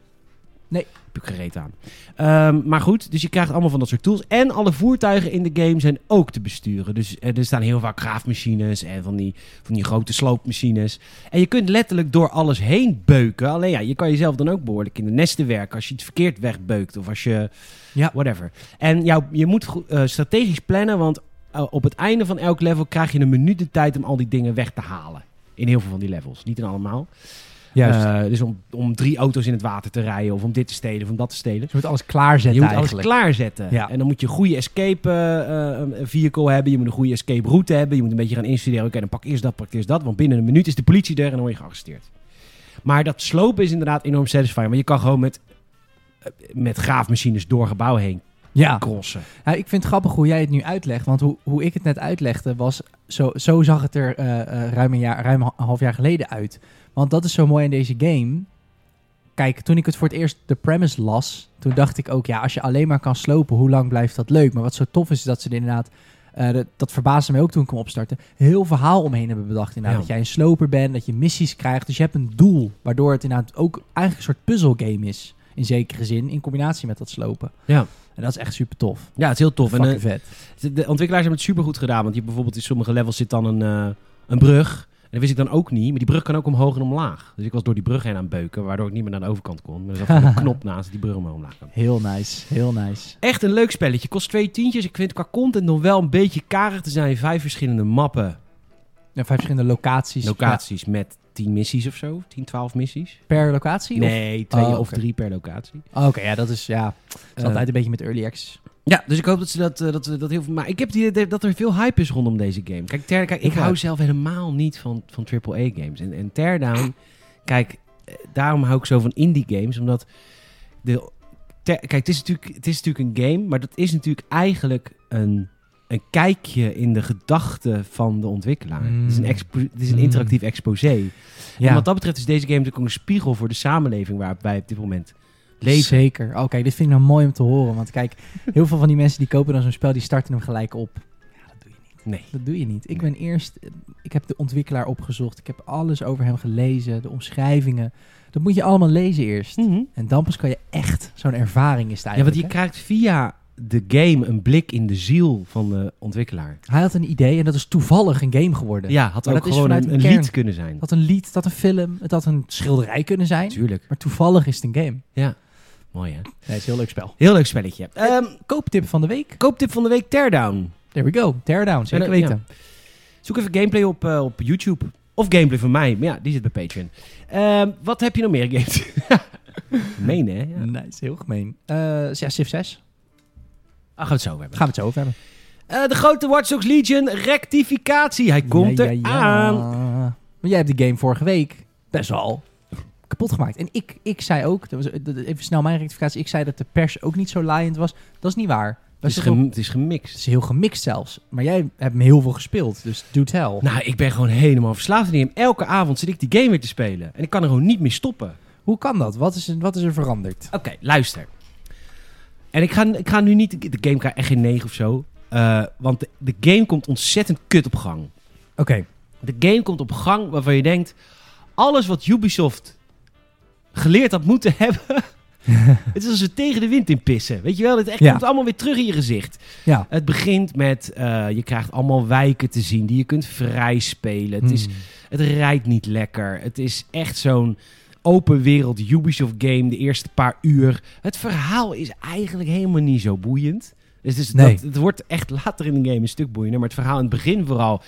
[SPEAKER 1] Nee.
[SPEAKER 2] Heb ik gereed aan. Ehm, maar goed, dus je krijgt allemaal van dat soort tools. En alle voertuigen in de game zijn ook te besturen. Dus eh, er staan heel vaak graafmachines en van die, van die grote sloopmachines. En je kunt letterlijk door alles heen beuken. Alleen ja, je kan jezelf dan ook behoorlijk in de nesten werken als je iets verkeerd wegbeukt. Of als je...
[SPEAKER 1] Ja.
[SPEAKER 2] Whatever. En jou, je moet go- eh, strategisch plannen, want eh, op het einde van elk level krijg je een minuut de tijd om al die dingen weg te halen. In heel veel van die levels. Niet in allemaal.
[SPEAKER 1] Juist.
[SPEAKER 2] Eh, dus om, om drie auto's in het water te rijden, of om dit te stelen, of om dat te stelen.
[SPEAKER 1] je moet alles klaarzetten
[SPEAKER 2] je moet
[SPEAKER 1] eigenlijk.
[SPEAKER 2] alles klaarzetten.
[SPEAKER 1] Ja.
[SPEAKER 2] En dan moet je een goede escape eh, eh, vehicle hebben. Je moet een goede escape route hebben. Je moet een beetje gaan instuderen. Oké, dan pak eerst dat, pak eerst dat. Want binnen een minuut is de politie er en dan word je gearresteerd. Maar dat slopen is inderdaad enorm satisfying. Want je kan gewoon met, eh, met graafmachines door gebouw heen
[SPEAKER 1] Ja.
[SPEAKER 2] crossen.
[SPEAKER 1] Ja, ik vind het grappig hoe jij het nu uitlegt. Want hoe, hoe ik het net uitlegde was... Zo, zo zag het er eh, eh, ruim, een jaar, ruim een half jaar geleden uit. Want dat is zo mooi in deze game. Kijk, toen ik het voor het eerst de premise las... Toen dacht ik ook, ja, als je alleen maar kan slopen... Hoe lang blijft dat leuk? Maar wat zo tof is, is dat ze er inderdaad... eh, dat, dat verbaasde mij ook toen ik hem opstartte. Heel verhaal omheen hebben bedacht. Inderdaad,
[SPEAKER 2] Ja.
[SPEAKER 1] dat jij een sloper bent, dat je missies krijgt. Dus je hebt een doel. Waardoor het inderdaad ook eigenlijk een soort puzzelgame is. In zekere zin, in combinatie met dat slopen.
[SPEAKER 2] Ja.
[SPEAKER 1] En dat is echt super tof.
[SPEAKER 2] Ja, het is heel tof. En, eh,
[SPEAKER 1] Fucking vet.
[SPEAKER 2] De- De ontwikkelaars hebben het supergoed gedaan. Want je hebt bijvoorbeeld in sommige levels zit dan een, eh, een brug. En dat wist ik dan ook niet. Maar die brug kan ook omhoog en omlaag. Dus ik was door die brug heen aan het beuken. Waardoor ik niet meer naar de overkant kon. Maar er zat gewoon een knop naast die brug omhoog en omlaag kan.
[SPEAKER 1] Heel nice, heel nice.
[SPEAKER 2] Echt een leuk spelletje. Kost twee tientjes. Ik vind qua content nog wel een beetje karig te zijn. Vijf verschillende mappen.
[SPEAKER 1] En vijf verschillende locaties.
[SPEAKER 2] Locaties met tien missies of zo. Tien, twaalf missies.
[SPEAKER 1] Ja, per locatie? Of-
[SPEAKER 2] Nee, twee
[SPEAKER 1] Oh,
[SPEAKER 2] of
[SPEAKER 1] oké.
[SPEAKER 2] drie per locatie.
[SPEAKER 1] Oh, Oké, ja, dat is, ja, dat is
[SPEAKER 2] Eh,
[SPEAKER 1] altijd een beetje met early access.
[SPEAKER 2] Ja, dus ik hoop dat ze dat, eh, dat, we dat heel veel. Maar ik heb het idee dat er veel hype is rondom deze game. Kijk, ter, kijk ik
[SPEAKER 1] Ja.
[SPEAKER 2] hou zelf helemaal niet van, van AAA-games. En, en Teardown, kijk, eh, daarom hou ik zo van indie-games. Omdat de. ter- kijk, het is, natuurlijk, het is natuurlijk een game, maar dat is natuurlijk eigenlijk een, een kijkje in de gedachten van de ontwikkelaar.
[SPEAKER 1] Mm.
[SPEAKER 2] Het, is een expo- het is een
[SPEAKER 1] Mm.
[SPEAKER 2] interactief exposé. En
[SPEAKER 1] Ja,
[SPEAKER 2] wat dat betreft is deze game natuurlijk ook een spiegel voor de samenleving waar wij op dit moment leven.
[SPEAKER 1] zeker. Oké, dit vind ik nou mooi om te horen. Want kijk, heel veel van die mensen die kopen dan zo'n spel, die starten hem gelijk op. Ja, dat doe je niet.
[SPEAKER 2] Nee.
[SPEAKER 1] Dat doe je niet. Ik ben eerst, ik heb de ontwikkelaar opgezocht. Ik heb alles over hem gelezen, de omschrijvingen. Dat moet je allemaal lezen eerst. En dan pas kan je echt, zo'n ervaring is het
[SPEAKER 2] Ja, want
[SPEAKER 1] eigenlijk.
[SPEAKER 2] je
[SPEAKER 1] hè?
[SPEAKER 2] krijgt via de game een blik in de ziel van de ontwikkelaar.
[SPEAKER 1] Hij had een idee en dat is toevallig een game geworden.
[SPEAKER 2] Ja, had
[SPEAKER 1] Maar
[SPEAKER 2] ook
[SPEAKER 1] dat is
[SPEAKER 2] gewoon
[SPEAKER 1] vanuit
[SPEAKER 2] een,
[SPEAKER 1] de
[SPEAKER 2] een
[SPEAKER 1] kern.
[SPEAKER 2] lied kunnen zijn.
[SPEAKER 1] Het had een lied, het had een film, het had een schilderij kunnen zijn.
[SPEAKER 2] Natuurlijk.
[SPEAKER 1] Maar toevallig is het een game.
[SPEAKER 2] Ja. Mooi hè?
[SPEAKER 1] Nee, het is een heel leuk spel.
[SPEAKER 2] Heel leuk spelletje. Ehm,
[SPEAKER 1] Kooptip van de week.
[SPEAKER 2] kooptip van de week, Teardown.
[SPEAKER 1] There we go. Teardown, zeker
[SPEAKER 2] Ja, ja.
[SPEAKER 1] weten.
[SPEAKER 2] Zoek even gameplay op, eh, op YouTube. Of gameplay van mij, maar ja, die zit bij Patreon. Ehm, wat heb je nog meer games? Meen hè? Ja.
[SPEAKER 1] Nice, heel gemeen. Eh ja, Civ 6.
[SPEAKER 2] Ah, gaan we het zo hebben.
[SPEAKER 1] Gaan we het zo over hebben.
[SPEAKER 2] Eh, de grote Watch Dogs Legion rectificatie. Hij komt
[SPEAKER 1] Ja, ja,
[SPEAKER 2] eraan.
[SPEAKER 1] ja. Maar jij hebt de game vorige week best wel kapot gemaakt. En ik, ik zei ook, dat was- eh, dat- even snel mijn rectificatie, ik zei dat de pers ook niet zo laaiend was. Dat is niet waar.
[SPEAKER 2] Het
[SPEAKER 1] Dat
[SPEAKER 2] is,
[SPEAKER 1] is
[SPEAKER 2] gem- het is gemixt.
[SPEAKER 1] het is heel gemixt zelfs. Maar jij hebt hem heel veel gespeeld, dus do tell.
[SPEAKER 2] Nou, ik ben gewoon helemaal verslaafd aan die game. Elke avond zit ik die game weer te spelen. En ik kan er gewoon niet meer stoppen.
[SPEAKER 1] Hoe kan dat? Wat is, er- wat is er veranderd?
[SPEAKER 2] Oké, luister. En ik ga, ik ga nu niet... De game krijgt echt geen 9 of zo. Eh, want de, de game komt ontzettend kut op gang.
[SPEAKER 1] Oké,
[SPEAKER 2] De game komt op gang waarvan je denkt... Alles wat Ubisoft geleerd had moeten hebben... het is als ze tegen de wind in pissen. Weet je wel? Het echt
[SPEAKER 1] Ja.
[SPEAKER 2] komt allemaal weer terug in je gezicht.
[SPEAKER 1] ja.
[SPEAKER 2] Het begint met, eh, je krijgt allemaal wijken te zien die je kunt vrij spelen. Het, is,
[SPEAKER 1] Hmm.
[SPEAKER 2] het rijdt niet lekker. Het is echt zo'n open wereld Ubisoft game de eerste paar uur. Het verhaal is eigenlijk helemaal niet zo boeiend. Dus het, is-
[SPEAKER 1] Nee.
[SPEAKER 2] dat, het wordt echt later in de game een stuk boeiender. Maar het verhaal in het begin vooral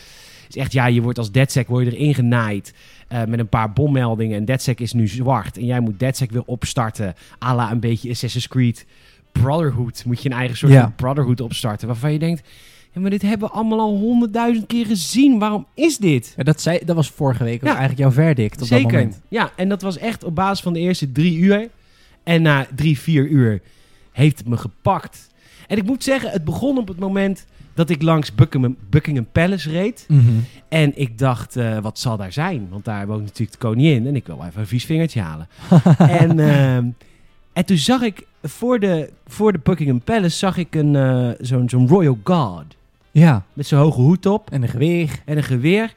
[SPEAKER 2] is echt, ja, je wordt als DedSec word je erin genaaid eh, met een paar bommeldingen. En DedSec is nu zwart en jij moet DedSec weer opstarten. à la een beetje Assassin's Creed Brotherhood. Moet je een eigen soort
[SPEAKER 1] Ja.
[SPEAKER 2] van Brotherhood opstarten. Waarvan je denkt, ja, maar dit hebben we allemaal al honderdduizend keer gezien. Waarom is dit?
[SPEAKER 1] Ja, dat, zei, dat was vorige week ook
[SPEAKER 2] Ja.
[SPEAKER 1] eigenlijk jouw verdict op dat
[SPEAKER 2] Zeker.
[SPEAKER 1] moment.
[SPEAKER 2] Ja, en dat was echt op basis van de eerste drie uur. En na drie, vier uur heeft het me gepakt. En ik moet zeggen, het begon op het moment dat ik langs Buckingham, Buckingham Palace reed.
[SPEAKER 1] Mhm.
[SPEAKER 2] En ik dacht, eh, wat zal daar zijn? Want daar woont natuurlijk de koningin. En ik wil wel even een vies vingertje halen. en, ehm, en toen zag ik, voor de, voor de Buckingham Palace, zag ik een, eh, zo'n zo'n royal guard.
[SPEAKER 1] Ja,
[SPEAKER 2] Met zijn hoge hoed op
[SPEAKER 1] en de geweeg.
[SPEAKER 2] en een geweer.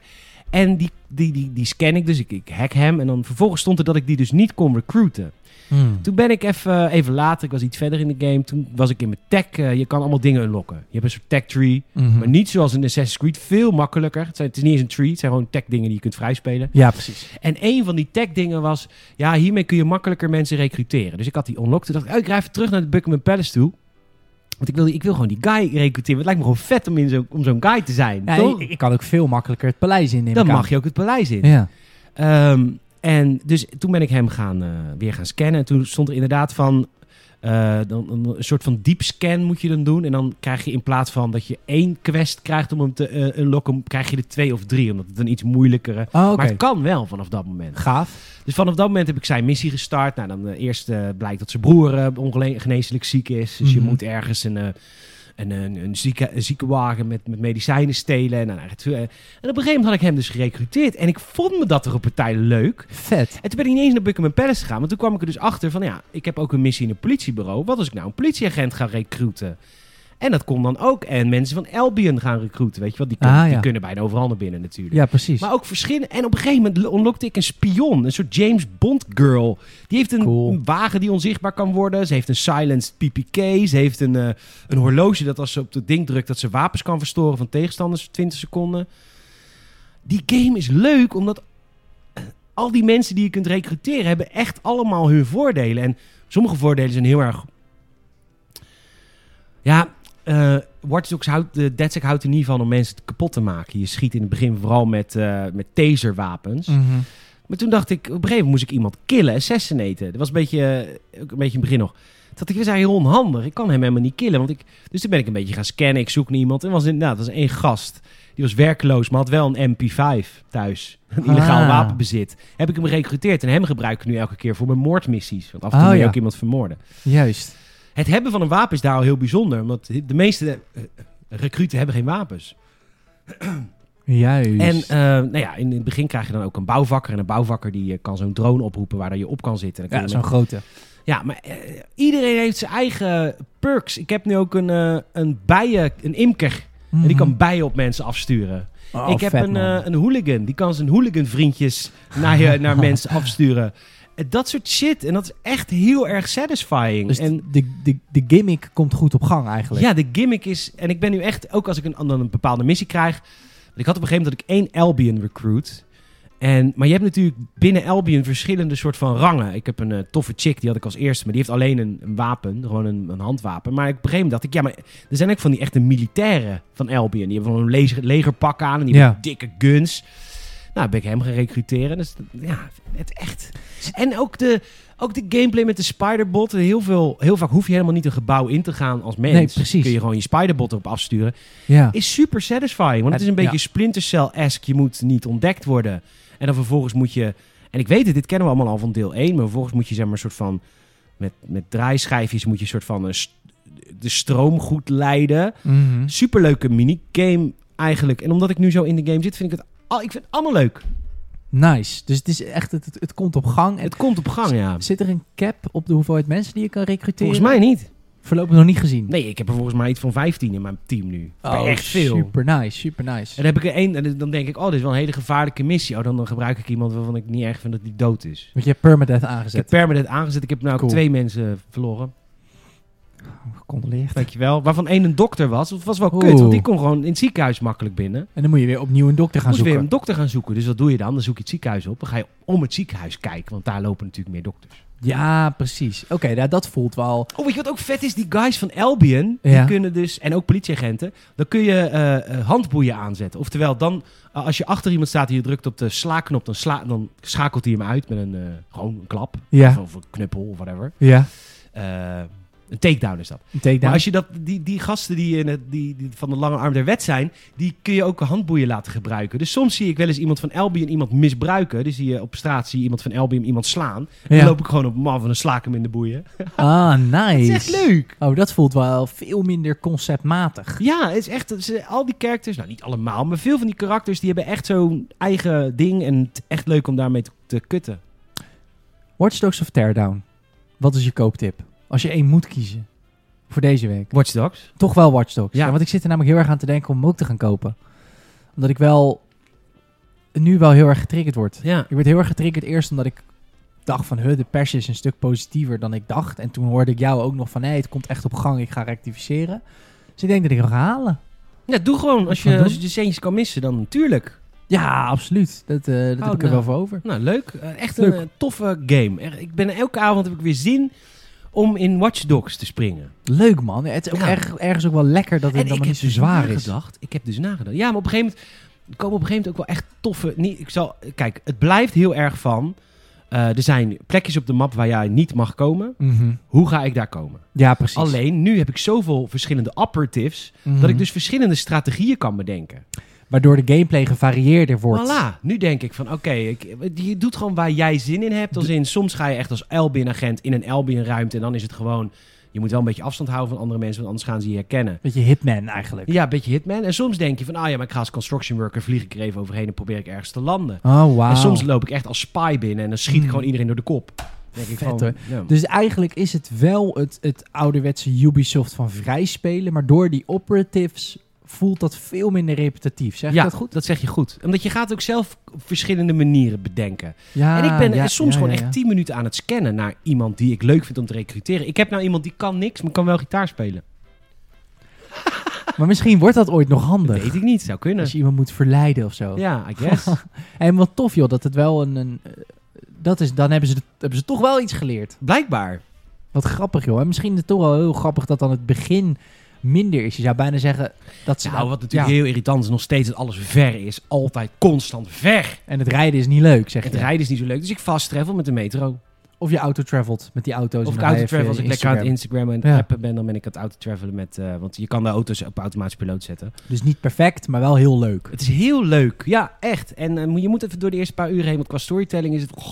[SPEAKER 2] En die, die, die, die scan ik dus, ik, ik hack hem. En dan vervolgens stond er dat ik die dus niet kon recruiten.
[SPEAKER 1] Hmm.
[SPEAKER 2] Toen ben ik even, eh, even later, ik was iets verder in de game. Toen was ik in mijn tech. eh, je kan allemaal dingen unlocken. Je hebt een soort tech tree.
[SPEAKER 1] Mhm.
[SPEAKER 2] Maar niet zoals in Assassin's Creed. Veel makkelijker. Het, zijn, het is niet eens een tree. Het zijn gewoon tech dingen die je kunt vrijspelen.
[SPEAKER 1] Ja, precies.
[SPEAKER 2] En een van die tech dingen was... Ja, hiermee kun je makkelijker mensen recruteren. Dus ik had die unlocked. Toen dacht ik, oh, ik rij even terug naar de Buckingham Palace toe. Want ik wil, ik wil gewoon die guy recruteren. Het lijkt me gewoon vet om, in zo, om zo'n guy te zijn.
[SPEAKER 1] Ja,
[SPEAKER 2] toch?
[SPEAKER 1] ik, ik kan ook veel makkelijker het paleis in. neem
[SPEAKER 2] Dan
[SPEAKER 1] ik aan.
[SPEAKER 2] mag je ook het paleis in.
[SPEAKER 1] Ja.
[SPEAKER 2] Ehm, en dus toen ben ik hem gaan, eh, weer gaan scannen. En toen stond er inderdaad van... eh, dan, een, een soort van deep scan moet je dan doen. En dan krijg je in plaats van dat je één quest krijgt om hem te eh, unlocken... krijg je er twee of drie, omdat het een iets moeilijkere...
[SPEAKER 1] Oh, oké.
[SPEAKER 2] Maar het kan wel vanaf dat moment.
[SPEAKER 1] Gaaf.
[SPEAKER 2] Dus vanaf dat moment heb ik zijn missie gestart. Nou, dan eh, eerst eh, blijkt dat zijn broer eh, ongele- geneeslijk ziek is. Dus
[SPEAKER 1] Mhm.
[SPEAKER 2] je moet ergens een, eh, een, een, een, zieke, een ziekenwagen met, met medicijnen stelen. En, dan eigenlijk- eh, en op een gegeven moment had ik hem dus gerecruiteerd. En ik vond me dat er een partij leuk.
[SPEAKER 1] Vet.
[SPEAKER 2] En toen ben ik niet eens naar Buckingham Palace gegaan. Want toen kwam ik er dus achter van, ja, ik heb ook een missie in een politiebureau. Wat als ik nou een politieagent ga recruiten? En dat kon dan ook. En mensen van Albion gaan recruiten, weet je wel. Die, kunnen-
[SPEAKER 1] Ah, ja.
[SPEAKER 2] die kunnen bijna overal naar binnen natuurlijk.
[SPEAKER 1] Ja, precies.
[SPEAKER 2] Maar ook verschillen. En op een gegeven moment ontlokte ik een spion. Een soort James Bond girl. Die heeft een,
[SPEAKER 1] Cool.
[SPEAKER 2] een wagen die onzichtbaar kan worden. Ze heeft een silenced PPK. Ze heeft een, eh, een horloge dat als ze op het ding drukt... dat ze wapens kan verstoren van tegenstanders voor 20 seconden. Die game is leuk omdat... eh, Al die mensen die je kunt recruteren hebben echt allemaal hun voordelen. En sommige voordelen zijn heel erg... Ja, eh Watch Dogs houdt, de DedSec houdt er niet van om mensen kapot te maken. Je schiet in het begin vooral met, eh, met taserwapens.
[SPEAKER 1] Mhm.
[SPEAKER 2] Maar toen dacht ik, op een gegeven moment moest ik iemand killen, assassinaten. Dat was een beetje, eh, ook een beetje in het begin nog. Dat ik, dat is eigenlijk heel onhandig. Ik kan hem helemaal niet killen. Want ik, dus toen ben ik een beetje gaan scannen. Ik zoek naar iemand. En was inderdaad, dat was één gast. Die was werkloos, maar had wel een MP5 thuis. Een illegaal
[SPEAKER 1] Ah.
[SPEAKER 2] wapenbezit. Heb ik hem gerecruiteerd. En hem gebruik ik nu elke keer voor mijn moordmissies. Want af en
[SPEAKER 1] Oh,
[SPEAKER 2] toe moet je
[SPEAKER 1] ja.
[SPEAKER 2] ook iemand vermoorden.
[SPEAKER 1] Juist.
[SPEAKER 2] Het hebben van een wapen is daar al heel bijzonder. Omdat de meeste eh, recruten hebben geen wapens.
[SPEAKER 1] Juist.
[SPEAKER 2] En eh, nou ja, in het begin krijg je dan ook een bouwvakker. En een bouwvakker die eh, kan zo'n drone oproepen waar dan je op kan zitten. Dan kun
[SPEAKER 1] ja,
[SPEAKER 2] je
[SPEAKER 1] zo'n
[SPEAKER 2] met-
[SPEAKER 1] grote.
[SPEAKER 2] ja maar eh, iedereen heeft zijn eigen perks. Ik heb nu ook een, eh, een bijen, een imker. En die kan bijen op mensen afsturen.
[SPEAKER 1] Mhm. Oh,
[SPEAKER 2] ik heb
[SPEAKER 1] vet,
[SPEAKER 2] een,
[SPEAKER 1] man.
[SPEAKER 2] eh, een hooligan. Die kan zijn hooligan vriendjes naar, je, naar mensen afsturen. Eh, Dat soort shit. En dat is echt heel erg satisfying.
[SPEAKER 1] dus
[SPEAKER 2] en
[SPEAKER 1] de, de, de gimmick komt goed op gang eigenlijk.
[SPEAKER 2] Ja, de gimmick is... En ik ben nu echt... Ook als ik een, dan een bepaalde missie krijg... want Ik had op een gegeven moment dat ik één Albion recruit. En, maar je hebt natuurlijk binnen Albion verschillende soort van rangen. Ik heb een eh, toffe chick, die had ik als eerste. Maar die heeft alleen een, een wapen, gewoon een, een handwapen. Maar op een gegeven moment dacht ik, ja, maar er zijn ook van die echte militairen van Albion. Die hebben gewoon een leger, legerpak aan en die
[SPEAKER 1] Ja.
[SPEAKER 2] hebben dikke guns. Nou, ben ik hem gaan recruteren. Dus ja, het echt. En ook de, ook de gameplay met de spiderbot. Heel, veel, heel vaak hoef je helemaal niet een gebouw in te gaan als mens.
[SPEAKER 1] Nee, precies.
[SPEAKER 2] Kun je gewoon je spiderbot erop afsturen
[SPEAKER 1] Ja.
[SPEAKER 2] is super satisfying. Want het is een beetje
[SPEAKER 1] Ja.
[SPEAKER 2] Splinter Cell-esque. Je moet niet ontdekt worden. En dan vervolgens moet je... En ik weet het, dit kennen we allemaal al van deel 1. Maar vervolgens moet je zeg maar een soort van... Met, met draaischijfjes moet je een soort van... eh, st- de stroom goed leiden.
[SPEAKER 1] Mhm.
[SPEAKER 2] Superleuke minigame eigenlijk. En omdat ik nu zo in de game zit, vind ik het... Al, ik vind het allemaal leuk.
[SPEAKER 1] Nice. Dus het is echt, het, het, het komt op gang. En
[SPEAKER 2] Het komt op gang, ja.
[SPEAKER 1] zit er een cap op de hoeveelheid mensen die je kan recruteren?
[SPEAKER 2] Volgens mij niet.
[SPEAKER 1] Voorlopig nog niet gezien.
[SPEAKER 2] Nee, ik heb er volgens mij iets van 15 in mijn team nu.
[SPEAKER 1] Oh,
[SPEAKER 2] Echt veel.
[SPEAKER 1] Super nice, super
[SPEAKER 2] En
[SPEAKER 1] nice.
[SPEAKER 2] dan heb ik er één... En dan denk ik, oh, dit is wel een hele gevaarlijke missie. Oh, dan, dan gebruik ik iemand waarvan ik niet erg vind dat die dood is.
[SPEAKER 1] Want je hebt permadeath
[SPEAKER 2] Ik heb
[SPEAKER 1] aangezet.
[SPEAKER 2] permanent aangezet. Ik heb nu
[SPEAKER 1] Cool.
[SPEAKER 2] twee mensen verloren.
[SPEAKER 1] Gecondoleerd.
[SPEAKER 2] Dankjewel. Waarvan één een dokter was. Dat was wel
[SPEAKER 1] Oeh.
[SPEAKER 2] kut, want die kon gewoon in het ziekenhuis makkelijk binnen.
[SPEAKER 1] En dan moet je weer opnieuw een dokter gaan
[SPEAKER 2] Moest weer
[SPEAKER 1] zoeken.
[SPEAKER 2] een dokter gaan zoeken. Dus wat doe je dan? Dan zoek je het ziekenhuis op. Dan ga je om het ziekenhuis kijken, want daar lopen natuurlijk meer dokters.
[SPEAKER 1] Ja, precies. Oké, nou, dat voelt wel.
[SPEAKER 2] Oh, weet je wat ook vet is? Die guys van Albion, die
[SPEAKER 1] Ja.
[SPEAKER 2] kunnen dus, en ook politieagenten, dan kun je eh, eh, handboeien aanzetten. Oftewel, dan, eh, als je achter iemand staat en je drukt op de slaakknop, dan, sla, dan schakelt hij hem uit met een, eh, gewoon een klap. Of,
[SPEAKER 1] Ja,
[SPEAKER 2] of een knuppel of whatever.
[SPEAKER 1] ja.
[SPEAKER 2] Eh, een takedown is dat.
[SPEAKER 1] Een takedown.
[SPEAKER 2] Maar als je dat, die, die gasten die, in het, die, die van de lange arm der wet zijn, die kun je ook handboeien laten gebruiken. Dus soms zie ik wel eens iemand van Albion iemand misbruiken. Dus zie je op straat zie je iemand van Albion iemand slaan.
[SPEAKER 1] ja.
[SPEAKER 2] En Dan loop ik gewoon op hem af en dan sla ik hem in de boeien.
[SPEAKER 1] Ah, nice.
[SPEAKER 2] Het is echt leuk.
[SPEAKER 1] Oh, dat voelt wel veel minder conceptmatig.
[SPEAKER 2] Ja, het is echt, het is, eh, al die characters, nou niet allemaal, maar veel van die karakters die hebben echt zo'n eigen ding. En het is echt leuk om daarmee te, te kutten.
[SPEAKER 1] Watch Dogs of Teardown. Wat is je kooptip? Als je één moet kiezen voor deze week.
[SPEAKER 2] Watch Dogs.
[SPEAKER 1] Toch wel Watch Dogs.
[SPEAKER 2] Ja.
[SPEAKER 1] Ja. Want ik zit er namelijk heel erg aan te denken om hem ook te gaan kopen. Omdat ik wel nu wel heel erg getriggerd word.
[SPEAKER 2] Ja.
[SPEAKER 1] Ik werd heel erg getriggerd eerst omdat ik dacht van... Huh, de pers is een stuk positiever dan ik dacht. En toen hoorde ik jou ook nog van... Nee, het komt echt op gang. Ik ga rectificeren. Dus ik denk dat ik hem ga halen.
[SPEAKER 2] ja, doe gewoon. Als
[SPEAKER 1] Wat
[SPEAKER 2] je,
[SPEAKER 1] doen?
[SPEAKER 2] als je de centjes kan missen, dan natuurlijk.
[SPEAKER 1] Ja, absoluut. Dat, eh, dat
[SPEAKER 2] Oh,
[SPEAKER 1] heb ik er
[SPEAKER 2] nou.
[SPEAKER 1] wel voor over.
[SPEAKER 2] Nou, leuk. Eh, echt
[SPEAKER 1] Leuk.
[SPEAKER 2] een eh, toffe game. Er- ik ben elke avond heb ik weer zin om in Watch Dogs te springen.
[SPEAKER 1] Leuk, man. Het is ook
[SPEAKER 2] Ja.
[SPEAKER 1] erg, ergens ook wel lekker dat het
[SPEAKER 2] ik
[SPEAKER 1] dan maar
[SPEAKER 2] heb dus
[SPEAKER 1] niet zo zwaar is.
[SPEAKER 2] nagedacht. Ik heb dus nagedacht. Ja, maar op een gegeven moment er komen op een gegeven moment ook wel echt toffe. Niet, ik zal, kijk, het blijft heel erg van. eh, er zijn plekjes op de map waar jij niet mag komen.
[SPEAKER 1] Mhm.
[SPEAKER 2] Hoe ga ik daar komen?
[SPEAKER 1] Ja, precies.
[SPEAKER 2] Alleen nu heb ik zoveel verschillende operatives
[SPEAKER 1] Mhm.
[SPEAKER 2] dat ik dus verschillende strategieën kan bedenken.
[SPEAKER 1] Waardoor de gameplay gevarieerder wordt.
[SPEAKER 2] Voilà, nu denk ik van oké, ik- je doet gewoon waar jij zin in hebt. Als in, soms ga je echt als Albion-agent in een Albion-ruimte en dan is het gewoon... Je moet wel een beetje afstand houden van andere mensen, want anders gaan ze je herkennen.
[SPEAKER 1] Beetje hitman eigenlijk.
[SPEAKER 2] Ja, een beetje hitman. En soms denk je van, ah ja, maar ik ga als construction worker, vlieg ik er even overheen en probeer ik ergens te landen.
[SPEAKER 1] Oh, wauw.
[SPEAKER 2] En soms loop ik echt als spy binnen en dan schiet ik
[SPEAKER 1] Mm.
[SPEAKER 2] gewoon iedereen door de kop. Dan Denk ik
[SPEAKER 1] Vet,
[SPEAKER 2] gewoon, ja.
[SPEAKER 1] Dus eigenlijk is het wel het, het ouderwetse Ubisoft van vrij spelen, maar door die operatives voelt dat veel minder repetitief. Zeg ik
[SPEAKER 2] Ja,
[SPEAKER 1] dat goed?
[SPEAKER 2] zeg je goed. Omdat je gaat ook zelf op verschillende manieren bedenken.
[SPEAKER 1] Ja,
[SPEAKER 2] en ik ben
[SPEAKER 1] Ah, ja,
[SPEAKER 2] soms
[SPEAKER 1] ja, ja,
[SPEAKER 2] gewoon echt
[SPEAKER 1] ja.
[SPEAKER 2] 10 minuten aan het scannen naar iemand die ik leuk vind om te recruteren. Ik heb nou iemand die kan niks, maar kan wel gitaar spelen.
[SPEAKER 1] Maar misschien wordt dat ooit nog
[SPEAKER 2] Dat
[SPEAKER 1] handig.
[SPEAKER 2] weet ik niet, zou kunnen.
[SPEAKER 1] Als je iemand moet verleiden of zo.
[SPEAKER 2] Ja, I guess.
[SPEAKER 1] En wat tof joh, dat het wel een... een eh, dat is, dan hebben ze, hebben ze toch wel iets geleerd.
[SPEAKER 2] Blijkbaar.
[SPEAKER 1] Wat grappig joh. En misschien is het toch wel heel grappig dat dan het begin minder is. Je zou bijna zeggen dat ze...
[SPEAKER 2] Nou,
[SPEAKER 1] dan-
[SPEAKER 2] wat natuurlijk
[SPEAKER 1] ja.
[SPEAKER 2] heel irritant is, nog steeds dat alles ver is. Altijd constant ver.
[SPEAKER 1] En het rijden is niet leuk, zeg
[SPEAKER 2] Het
[SPEAKER 1] je.
[SPEAKER 2] rijden is niet zo leuk, dus ik fast travel met de metro.
[SPEAKER 1] Of je auto travelt met die auto's.
[SPEAKER 2] Of
[SPEAKER 1] en
[SPEAKER 2] ik
[SPEAKER 1] dan ga
[SPEAKER 2] auto
[SPEAKER 1] je
[SPEAKER 2] travel als
[SPEAKER 1] even
[SPEAKER 2] ik lekker aan het
[SPEAKER 1] Instagram.
[SPEAKER 2] Instagram en
[SPEAKER 1] Ja.
[SPEAKER 2] appen ben, dan ben ik aan het auto travelen met. eh, want je kan de auto's op automatisch piloot zetten.
[SPEAKER 1] Dus niet perfect, maar wel heel leuk.
[SPEAKER 2] Het is heel leuk. Ja, echt. En eh, moet- je moet even door de eerste paar uren heen, want qua storytelling is het.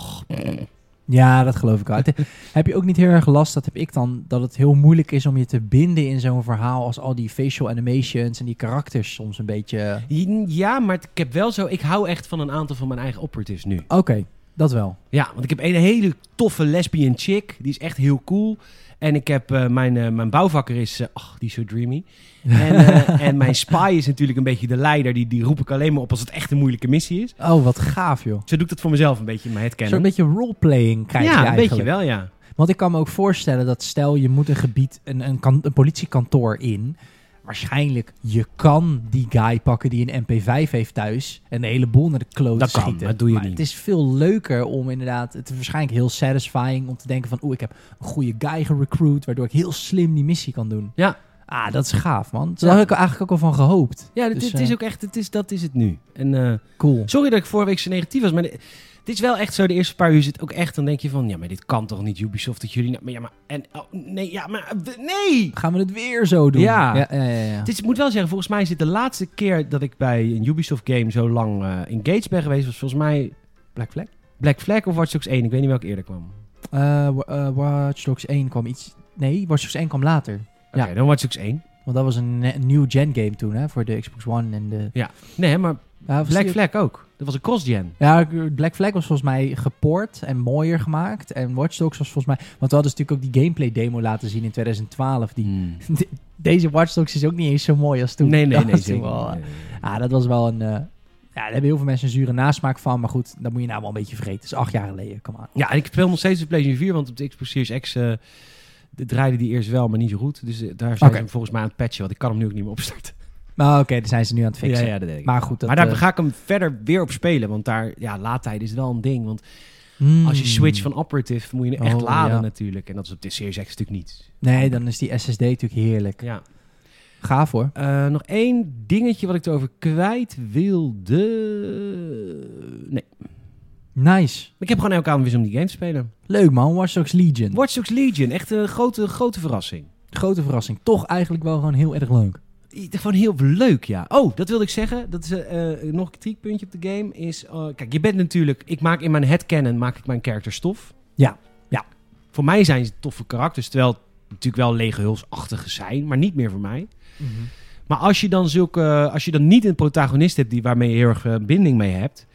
[SPEAKER 1] Ja, dat geloof ik wel. Het- heb je ook niet heel erg last, dat heb ik dan, dat het heel moeilijk is om je te binden in zo'n verhaal als al die facial animations en die karakters soms een beetje...
[SPEAKER 2] Ja, maar het- ik heb wel zo. Ik hou echt van een aantal van mijn eigen operatives nu.
[SPEAKER 1] Oké, dat wel.
[SPEAKER 2] Ja, want ik heb een hele toffe lesbian chick. Die is echt heel cool. En ik heb eh, mijn, eh, mijn bouwvakker is. eh, ach, die is zo dreamy. En, eh, en mijn spy is natuurlijk een beetje de leider. Die, die roep ik alleen maar op als het echt een moeilijke missie is.
[SPEAKER 1] Oh, wat gaaf joh.
[SPEAKER 2] Zo doe ik dat voor mezelf een beetje in mijn headcanon.
[SPEAKER 1] Zo'n beetje roleplaying krijg je
[SPEAKER 2] ja, een
[SPEAKER 1] eigenlijk.
[SPEAKER 2] beetje wel, ja.
[SPEAKER 1] Want ik kan me ook voorstellen dat stel je moet een gebied, een, een, kan- een politiekantoor in... Waarschijnlijk, je kan die guy pakken die een MP5 heeft thuis en de hele boel naar de kloot
[SPEAKER 2] Dat kan,
[SPEAKER 1] schieten.
[SPEAKER 2] maar dat doe je
[SPEAKER 1] maar
[SPEAKER 2] niet.
[SPEAKER 1] het is veel leuker om inderdaad, het is waarschijnlijk heel satisfying om te denken van, oeh, ik heb een goede guy gerecruit, waardoor ik heel slim die missie kan doen.
[SPEAKER 2] Ja.
[SPEAKER 1] Ah, dat is gaaf, man.
[SPEAKER 2] Ja.
[SPEAKER 1] Daar had ik er eigenlijk ook al van gehoopt.
[SPEAKER 2] Ja, dit,
[SPEAKER 1] Dus,
[SPEAKER 2] dit
[SPEAKER 1] eh,
[SPEAKER 2] is ook echt, het is, dat is het nu. En, eh,
[SPEAKER 1] Cool.
[SPEAKER 2] sorry dat ik vorige week zo negatief was, maar dit, dit is wel echt zo. De eerste paar uur zit ook echt, dan denk je van, ja, maar dit kan toch niet Ubisoft dat jullie, nou, maar ja, maar, en, oh, nee, ja, maar, eh, nee!
[SPEAKER 1] Gaan we het weer zo doen?
[SPEAKER 2] Ja.
[SPEAKER 1] ja, ja, ja, ja.
[SPEAKER 2] Het is, ik moet wel zeggen, volgens mij is dit de laatste keer dat ik bij een Ubisoft game zo lang eh, engaged ben geweest. Was volgens mij
[SPEAKER 1] Black Flag?
[SPEAKER 2] Black Flag of Watch Dogs 1. Ik weet niet welke eerder kwam.
[SPEAKER 1] Eh, wa- eh, Watch Dogs 1 kwam iets... Nee, Watch Dogs 1 kwam later.
[SPEAKER 2] Oké,
[SPEAKER 1] Ja.
[SPEAKER 2] dan Watch Dogs 1.
[SPEAKER 1] Want dat was een ne- nieuw gen game toen, hè? Voor de Xbox One en de...
[SPEAKER 2] Nee, maar
[SPEAKER 1] Ja, was
[SPEAKER 2] Black
[SPEAKER 1] die-
[SPEAKER 2] Flag ook. Dat was een cross-gen.
[SPEAKER 1] Ja, ik- Black Flag was volgens mij geport en mooier gemaakt. En Watch Dogs was volgens mij... Want we hadden dus natuurlijk ook die gameplay demo laten zien in 2012. Die... De- Deze Watch Dogs is ook niet eens zo mooi als toen.
[SPEAKER 2] Nee, nee,
[SPEAKER 1] Dat
[SPEAKER 2] nee.
[SPEAKER 1] was
[SPEAKER 2] zeker
[SPEAKER 1] toen wel- eh,
[SPEAKER 2] niet. Nee, nee, nee.
[SPEAKER 1] Ja, dat was wel een... eh, Ja, daar hebben heel veel mensen een zure nasmaak van. Maar goed, dat moet je nou wel een beetje vergeten. Het is acht jaar geleden, kom aan.
[SPEAKER 2] Ja, en ik speel nog steeds de PlayStation 4, want op de Xbox Series X eh, de- draaide die eerst wel, maar niet zo goed. Dus eh, daar zijn ze
[SPEAKER 1] Oké.
[SPEAKER 2] hem volgens mij aan het patchen, want ik kan hem nu ook niet meer opstarten.
[SPEAKER 1] Maar oké, daar zijn ze nu aan het fixen.
[SPEAKER 2] dat denk ik. Maar,
[SPEAKER 1] Maar goed, dat...
[SPEAKER 2] daar
[SPEAKER 1] eh,
[SPEAKER 2] ga ik hem verder weer op spelen, want daar, ja, laadtijd is wel een ding. Want
[SPEAKER 1] hmm.
[SPEAKER 2] Als je switch van operative, moet je hem echt
[SPEAKER 1] Oh,
[SPEAKER 2] laden
[SPEAKER 1] ja.
[SPEAKER 2] natuurlijk. En dat is op de Series X natuurlijk niet.
[SPEAKER 1] Nee, dan is die SSD natuurlijk heerlijk.
[SPEAKER 2] Ja.
[SPEAKER 1] Gaaf hoor.
[SPEAKER 2] Eh, nog één dingetje wat ik erover kwijt wilde. Nee.
[SPEAKER 1] Nice.
[SPEAKER 2] Ik heb gewoon elke avond weer zin om die game te spelen.
[SPEAKER 1] Leuk man, Watch Dogs Legion.
[SPEAKER 2] Watch Dogs Legion, echt een grote, grote verrassing.
[SPEAKER 1] Grote verrassing. Toch eigenlijk wel gewoon heel erg leuk.
[SPEAKER 2] I- Gewoon heel leuk, ja. Oh, dat wilde ik zeggen. Dat is eh, eh, nog een kritiekpuntje op de game. Is, eh, kijk, je bent natuurlijk... Ik maak in mijn headcanon maak ik mijn character stof.
[SPEAKER 1] Ja, ja.
[SPEAKER 2] Voor mij zijn ze toffe karakters. Terwijl het natuurlijk wel lege hulsachtige zijn. Maar niet meer voor mij.
[SPEAKER 1] Mhm.
[SPEAKER 2] Maar als je dan, zulke, als je dan niet een protagonist hebt die, waarmee je heel erg eh, binding mee hebt,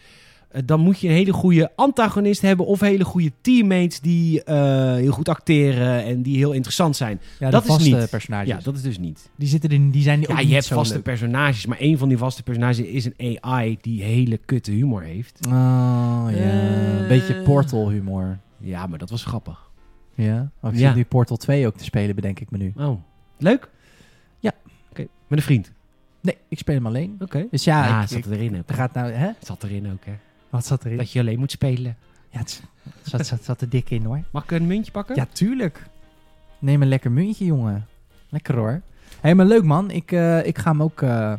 [SPEAKER 2] eh, dan moet je een hele goede antagonist hebben of hele goede teammates die eh, heel goed acteren en die heel interessant zijn.
[SPEAKER 1] Ja,
[SPEAKER 2] Dat
[SPEAKER 1] de
[SPEAKER 2] is
[SPEAKER 1] vaste
[SPEAKER 2] niet.
[SPEAKER 1] personages.
[SPEAKER 2] Ja, dat is dus niet.
[SPEAKER 1] Die zitten er, die zijn ook
[SPEAKER 2] Ja,
[SPEAKER 1] niet
[SPEAKER 2] je hebt
[SPEAKER 1] zo
[SPEAKER 2] vaste
[SPEAKER 1] leuk.
[SPEAKER 2] personages, maar één van die vaste personages is een AI die hele kutte humor heeft.
[SPEAKER 1] Oh ja, een
[SPEAKER 2] Eh.
[SPEAKER 1] beetje Portal humor.
[SPEAKER 2] Ja, maar dat was grappig.
[SPEAKER 1] Ja? Oh, ik
[SPEAKER 2] Ja.
[SPEAKER 1] zit nu Portal 2 ook te spelen, bedenk ik me nu.
[SPEAKER 2] Oh, leuk?
[SPEAKER 1] Ja.
[SPEAKER 2] Oké, met een vriend.
[SPEAKER 1] Nee, ik speel hem alleen.
[SPEAKER 2] Oké.
[SPEAKER 1] Dus ja,
[SPEAKER 2] ah,
[SPEAKER 1] ik,
[SPEAKER 2] het zat
[SPEAKER 1] ik-
[SPEAKER 2] erin ook.
[SPEAKER 1] er gaat nou... Hè?
[SPEAKER 2] Het zat erin ook, hè.
[SPEAKER 1] Wat zat erin?
[SPEAKER 2] Dat je alleen moet spelen.
[SPEAKER 1] Ja, het zat, zat, zat er dik in hoor.
[SPEAKER 2] Mag ik een muntje pakken?
[SPEAKER 1] Ja, tuurlijk. Neem een lekker muntje, jongen. Lekker hoor. Hé, maar leuk man. Ik, eh, ik ga hem ook... eh,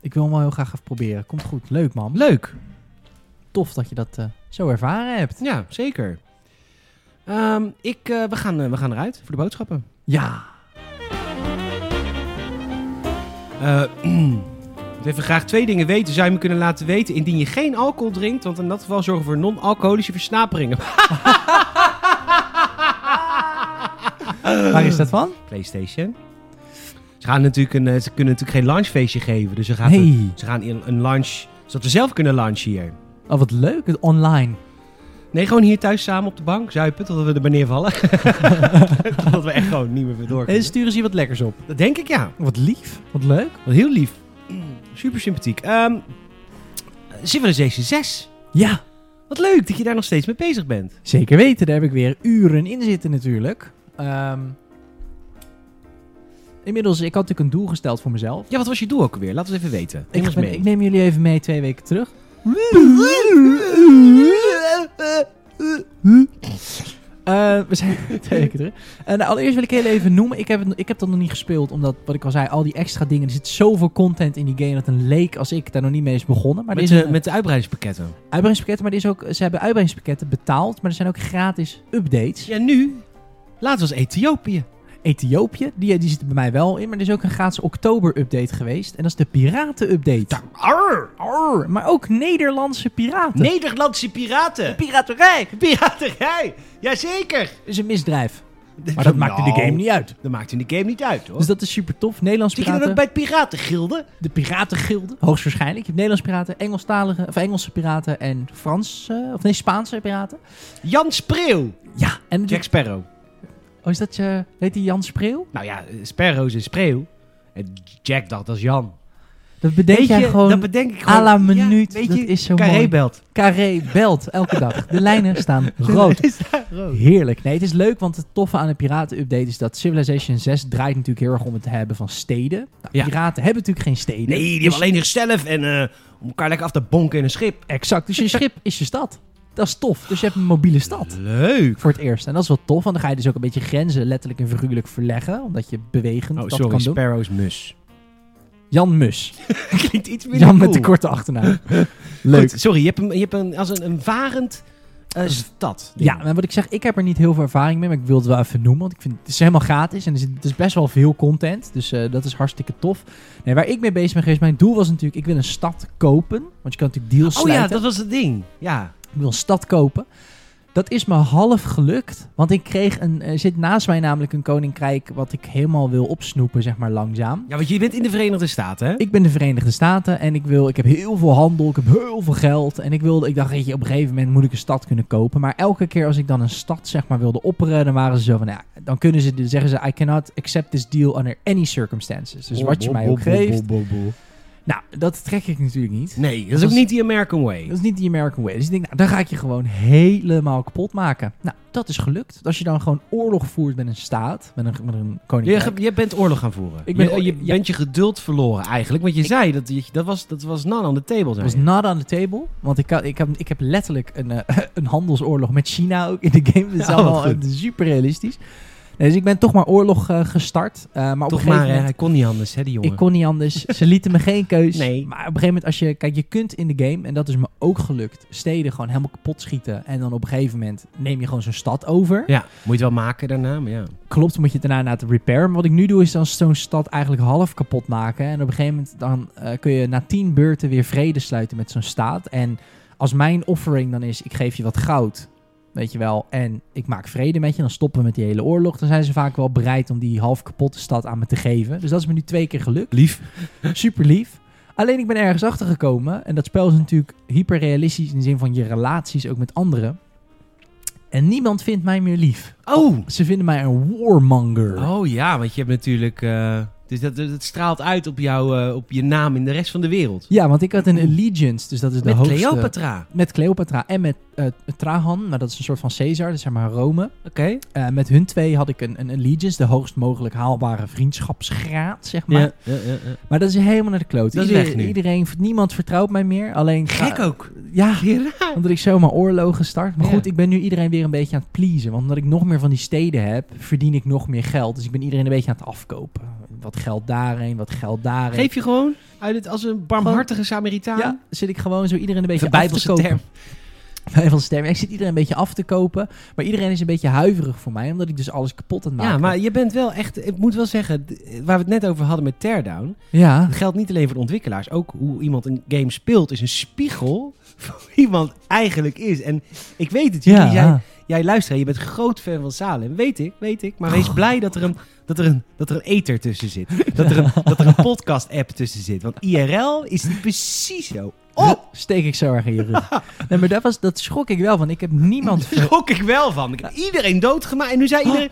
[SPEAKER 1] ik wil hem wel heel graag even proberen. Komt goed. Leuk man.
[SPEAKER 2] Leuk.
[SPEAKER 1] Tof dat je dat eh, zo ervaren hebt.
[SPEAKER 2] Ja, zeker. Ehm, ik, eh, we, gaan, eh, we gaan eruit voor de boodschappen.
[SPEAKER 1] Ja.
[SPEAKER 2] Eh, we even graag twee dingen weten. Zou je me kunnen laten weten indien je geen alcohol drinkt? Want in dat geval zorgen we voor non-alcoholische versnaperingen.
[SPEAKER 1] Waar is dat van?
[SPEAKER 2] PlayStation. Ze, gaan natuurlijk een, eh, ze kunnen natuurlijk geen lunchfeestje geven. Dus ze gaan,
[SPEAKER 1] Nee.
[SPEAKER 2] ze gaan in een lunch, zodat we zelf kunnen lunchen hier.
[SPEAKER 1] Oh, wat leuk. Het online.
[SPEAKER 2] Nee, gewoon hier thuis samen op de bank zuipen totdat we er beneden vallen. totdat we echt gewoon niet meer door
[SPEAKER 1] En
[SPEAKER 2] kunnen.
[SPEAKER 1] sturen ze hier wat lekkers op.
[SPEAKER 2] Dat denk ik, ja.
[SPEAKER 1] Wat lief. Wat leuk.
[SPEAKER 2] Wat heel lief. Super sympathiek. Ehm Civilization 6.
[SPEAKER 1] Ja,
[SPEAKER 2] Wat leuk dat je daar nog steeds mee bezig bent.
[SPEAKER 1] zeker weten. Daar heb ik weer uren in zitten natuurlijk. Ehm, inmiddels, ik had natuurlijk een doel gesteld voor mezelf.
[SPEAKER 2] Ja, wat was je doel ook alweer? Laat het even weten. Neem
[SPEAKER 1] Ik,
[SPEAKER 2] ons
[SPEAKER 1] ben-
[SPEAKER 2] mee.
[SPEAKER 1] ik neem jullie even mee twee weken terug. Eh, we zijn twee weken terug. Eh, nou, allereerst wil ik heel even noemen. Ik heb, het, ik heb dat nog niet gespeeld, omdat, wat ik al zei, al die extra dingen. Er zit zoveel content in die game dat een leek als ik daar nog niet mee is begonnen. Maar er
[SPEAKER 2] met,
[SPEAKER 1] is
[SPEAKER 2] de,
[SPEAKER 1] een-
[SPEAKER 2] met de uitbreidingspakketten.
[SPEAKER 1] uitbreidingspakketten, maar er is ook, ze hebben uitbreidingspakketten betaald, maar er zijn ook gratis updates.
[SPEAKER 2] Ja, nu. Laatst was Ethiopië.
[SPEAKER 1] Ethiopië, die, die zit er bij mij wel in, maar er is ook een gratis oktober-update geweest. En dat is de piraten-update.
[SPEAKER 2] Arr,
[SPEAKER 1] Arr, maar ook Nederlandse piraten.
[SPEAKER 2] Nederlandse piraten.
[SPEAKER 1] Piraterij
[SPEAKER 2] Piraterij. Jazeker.
[SPEAKER 1] is een misdrijf. Maar dat maakte
[SPEAKER 2] Nou.
[SPEAKER 1] de game niet uit.
[SPEAKER 2] Dat maakte de game niet uit, hoor.
[SPEAKER 1] Dus dat is super tof. Nederlands
[SPEAKER 2] Zit je dan ook
[SPEAKER 1] piraten.
[SPEAKER 2] bij het piratengilde?
[SPEAKER 1] De piratengilde. Hoogstwaarschijnlijk. Je hebt Nederlands piraten, Engelstalige, of Engelse piraten en Franse, of nee, Spaanse piraten.
[SPEAKER 2] Jan Spreeuw.
[SPEAKER 1] Ja, en
[SPEAKER 2] Jack Sparrow.
[SPEAKER 1] oh, is dat je, heet die Jan Spreeuw?
[SPEAKER 2] Nou ja, eh, Sparrow is een Spreeuw. En Jack dacht, dat is Jan.
[SPEAKER 1] Dat bedenk
[SPEAKER 2] Weet
[SPEAKER 1] jij
[SPEAKER 2] je,
[SPEAKER 1] gewoon
[SPEAKER 2] dat bedenk ik gewoon.
[SPEAKER 1] à la
[SPEAKER 2] Ja,
[SPEAKER 1] minuut.
[SPEAKER 2] weet
[SPEAKER 1] dat
[SPEAKER 2] je,
[SPEAKER 1] is zo
[SPEAKER 2] Carré
[SPEAKER 1] mooi.
[SPEAKER 2] belt.
[SPEAKER 1] Carré belt elke dag. De lijnen staan rood.
[SPEAKER 2] Is daar rood?
[SPEAKER 1] Heerlijk. Nee, het is leuk, want het toffe aan de piraten-update is dat Civilization 6 draait natuurlijk heel erg om het hebben van steden. Nou,
[SPEAKER 2] Ja.
[SPEAKER 1] Piraten hebben natuurlijk geen steden.
[SPEAKER 2] Nee, die
[SPEAKER 1] Dus-
[SPEAKER 2] hebben alleen zichzelf en eh, om elkaar lekker af te bonken in een schip.
[SPEAKER 1] Exact. Dus je schip is je stad. Dat is tof. Dus je hebt een mobiele stad.
[SPEAKER 2] Leuk.
[SPEAKER 1] Voor het eerst. En dat is wel tof, want dan ga je dus ook een beetje grenzen letterlijk en figuurlijk verleggen. Omdat je bewegend
[SPEAKER 2] Oh,
[SPEAKER 1] dat kan
[SPEAKER 2] sorry,
[SPEAKER 1] doen.
[SPEAKER 2] Sparrow's mus.
[SPEAKER 1] Jan Mus.
[SPEAKER 2] Klinkt iets minder
[SPEAKER 1] Jan
[SPEAKER 2] cool.
[SPEAKER 1] met de korte achternaam.
[SPEAKER 2] Leuk. sorry, je hebt een, je hebt een, als een, een varend eh, stad.
[SPEAKER 1] Ja, maar wat ik zeg, ik heb er niet heel veel ervaring mee, maar ik wil het wel even noemen. Want ik vind het is helemaal gratis en er zit- het is best wel veel content. Dus eh, dat is hartstikke tof. Nee, waar ik mee bezig ben geweest, mijn doel was natuurlijk, ik wil een stad kopen. Want je kan natuurlijk deals
[SPEAKER 2] Oh ja,
[SPEAKER 1] sluiten.
[SPEAKER 2] dat was het ding. Ja.
[SPEAKER 1] Ik wil een stad kopen. Dat is me half gelukt, want ik kreeg een, er zit naast mij namelijk een koninkrijk wat ik helemaal wil opsnoepen, zeg maar langzaam.
[SPEAKER 2] Ja, want je bent in de Verenigde Staten, hè?
[SPEAKER 1] Ik ben de Verenigde Staten en ik, wil, ik heb heel veel handel, ik heb heel veel geld. En ik, wilde, ik dacht, weet je, op een gegeven moment moet ik een stad kunnen kopen. Maar elke keer als ik dan een stad zeg maar, wilde opperen, dan waren ze zo van, ja, dan kunnen ze, dan zeggen ze, I cannot accept this deal under any circumstances. Dus wat je mij ook geeft. Nou, dat trek ik natuurlijk niet.
[SPEAKER 2] Nee, dat is
[SPEAKER 1] Dat
[SPEAKER 2] ook
[SPEAKER 1] is-
[SPEAKER 2] niet die American Way.
[SPEAKER 1] Dat is niet die American way. Dus ik denk, nou, dan ga ik je gewoon helemaal kapot maken. Nou, dat is gelukt. Want Als je dan gewoon oorlog voert met een staat, met een, met een koninkrijk.
[SPEAKER 2] Je, je bent oorlog gaan voeren.
[SPEAKER 1] Ik ben-
[SPEAKER 2] je je
[SPEAKER 1] ja.
[SPEAKER 2] bent je geduld verloren eigenlijk. Want je zei, dat, je- dat, was, dat was none on the table.
[SPEAKER 1] Het
[SPEAKER 2] Zei
[SPEAKER 1] was
[SPEAKER 2] je.
[SPEAKER 1] nada aan de table. Want ik, had- ik, heb, ik heb letterlijk een, eh, een handelsoorlog met China ook in de game. Dat is
[SPEAKER 2] Ja, wat
[SPEAKER 1] allemaal
[SPEAKER 2] Oh, goed.
[SPEAKER 1] eh, super realistisch. Nee, dus ik ben toch maar oorlog eh, gestart. Eh, maar op
[SPEAKER 2] Toch
[SPEAKER 1] een gegeven
[SPEAKER 2] maar, hè,
[SPEAKER 1] moment...
[SPEAKER 2] hij kon niet anders, hè, die jongen.
[SPEAKER 1] Ik kon niet anders. Ze lieten me geen keus.
[SPEAKER 2] Nee.
[SPEAKER 1] Maar op een gegeven moment, als je, kijk, je kunt in de game, en dat is me ook gelukt, steden gewoon helemaal kapot schieten. En dan op een gegeven moment neem je gewoon zo'n stad over.
[SPEAKER 2] Ja, moet je het wel maken daarna, maar ja.
[SPEAKER 1] Klopt, dan moet je het daarna laten repairen. Maar wat ik nu doe, is dan zo'n stad eigenlijk half kapot maken. En op een gegeven moment dan eh, kun je na tien beurten weer vrede sluiten met zo'n staat. En als mijn offering dan is, ik geef je wat goud, weet je wel, en ik maak vrede met je, dan stoppen we met die hele oorlog. Dan zijn ze vaak wel bereid om die half kapotte stad aan me te geven. Dus dat is me nu twee keer gelukt.
[SPEAKER 2] Lief.
[SPEAKER 1] Super lief. Alleen ik ben ergens achter gekomen. En dat spel is natuurlijk hyperrealistisch in de zin van je relaties ook met anderen. En niemand vindt mij meer lief.
[SPEAKER 2] Oh!
[SPEAKER 1] Ze vinden mij een warmonger.
[SPEAKER 2] Oh ja, want je hebt natuurlijk... eh, dus dat, dat straalt uit op, jou, eh, op je naam in de rest van de wereld.
[SPEAKER 1] Ja, want ik had een Allegiance, dus dat is de
[SPEAKER 2] Mm-hmm. Met
[SPEAKER 1] hoogste...
[SPEAKER 2] Cleopatra.
[SPEAKER 1] Met Cleopatra en met eh, Trajan, maar dat is een soort van Caesar, dat is zeg maar Rome.
[SPEAKER 2] Oké.
[SPEAKER 1] Eh, met hun twee had ik een, een Allegiance, de hoogst mogelijk haalbare vriendschapsgraad, zeg maar.
[SPEAKER 2] Ja, ja, ja, ja.
[SPEAKER 1] Maar dat is helemaal naar de kloot.
[SPEAKER 2] Dat is
[SPEAKER 1] Iedereen-
[SPEAKER 2] weg nu.
[SPEAKER 1] Iedereen, niemand vertrouwt mij meer, alleen...
[SPEAKER 2] Gek ook.
[SPEAKER 1] Ja,
[SPEAKER 2] Ja,
[SPEAKER 1] Omdat ik zomaar oorlogen start. Maar
[SPEAKER 2] Ja.
[SPEAKER 1] goed, ik ben nu iedereen weer een beetje aan het pleasen. Want omdat ik nog meer van die steden heb, verdien ik nog meer geld. Dus ik ben iedereen een beetje aan het afkopen. Wat geld daarheen, wat geld daarheen.
[SPEAKER 2] Geef je gewoon uit het, als een barmhartige Samaritaan.
[SPEAKER 1] Ja, zit ik gewoon zo iedereen een beetje
[SPEAKER 2] Even
[SPEAKER 1] af te
[SPEAKER 2] Bijbelse
[SPEAKER 1] kopen.
[SPEAKER 2] term.
[SPEAKER 1] Bijbelse term. Ja, Ik zit iedereen een beetje af te kopen. Maar iedereen is een beetje huiverig voor mij, omdat ik dus alles kapot aan het maken
[SPEAKER 2] Ja, maar
[SPEAKER 1] ben.
[SPEAKER 2] je bent wel echt... Ik moet wel zeggen, d- waar we het net over hadden met Teardown...
[SPEAKER 1] Ja,
[SPEAKER 2] Dat geldt niet alleen voor de ontwikkelaars. Ook hoe iemand een game speelt is een spiegel van hoe iemand eigenlijk is. En ik weet het, jullie,
[SPEAKER 1] ja.
[SPEAKER 2] jij, jij luistert, je bent groot fan van Salem. Weet ik, weet ik. Maar
[SPEAKER 1] Oh.
[SPEAKER 2] wees blij dat er een, dat er een, dat er een ether tussen zit. Dat er een, dat er een podcast-app tussen zit. Want IRL is niet precies zo. Oh,
[SPEAKER 1] Steek ik zo erg in je rug. nee, maar dat, was, dat schrok ik wel van. Ik heb niemand...
[SPEAKER 2] daar schrok ik wel van. Ik heb iedereen doodgemaakt en nu zei iedereen...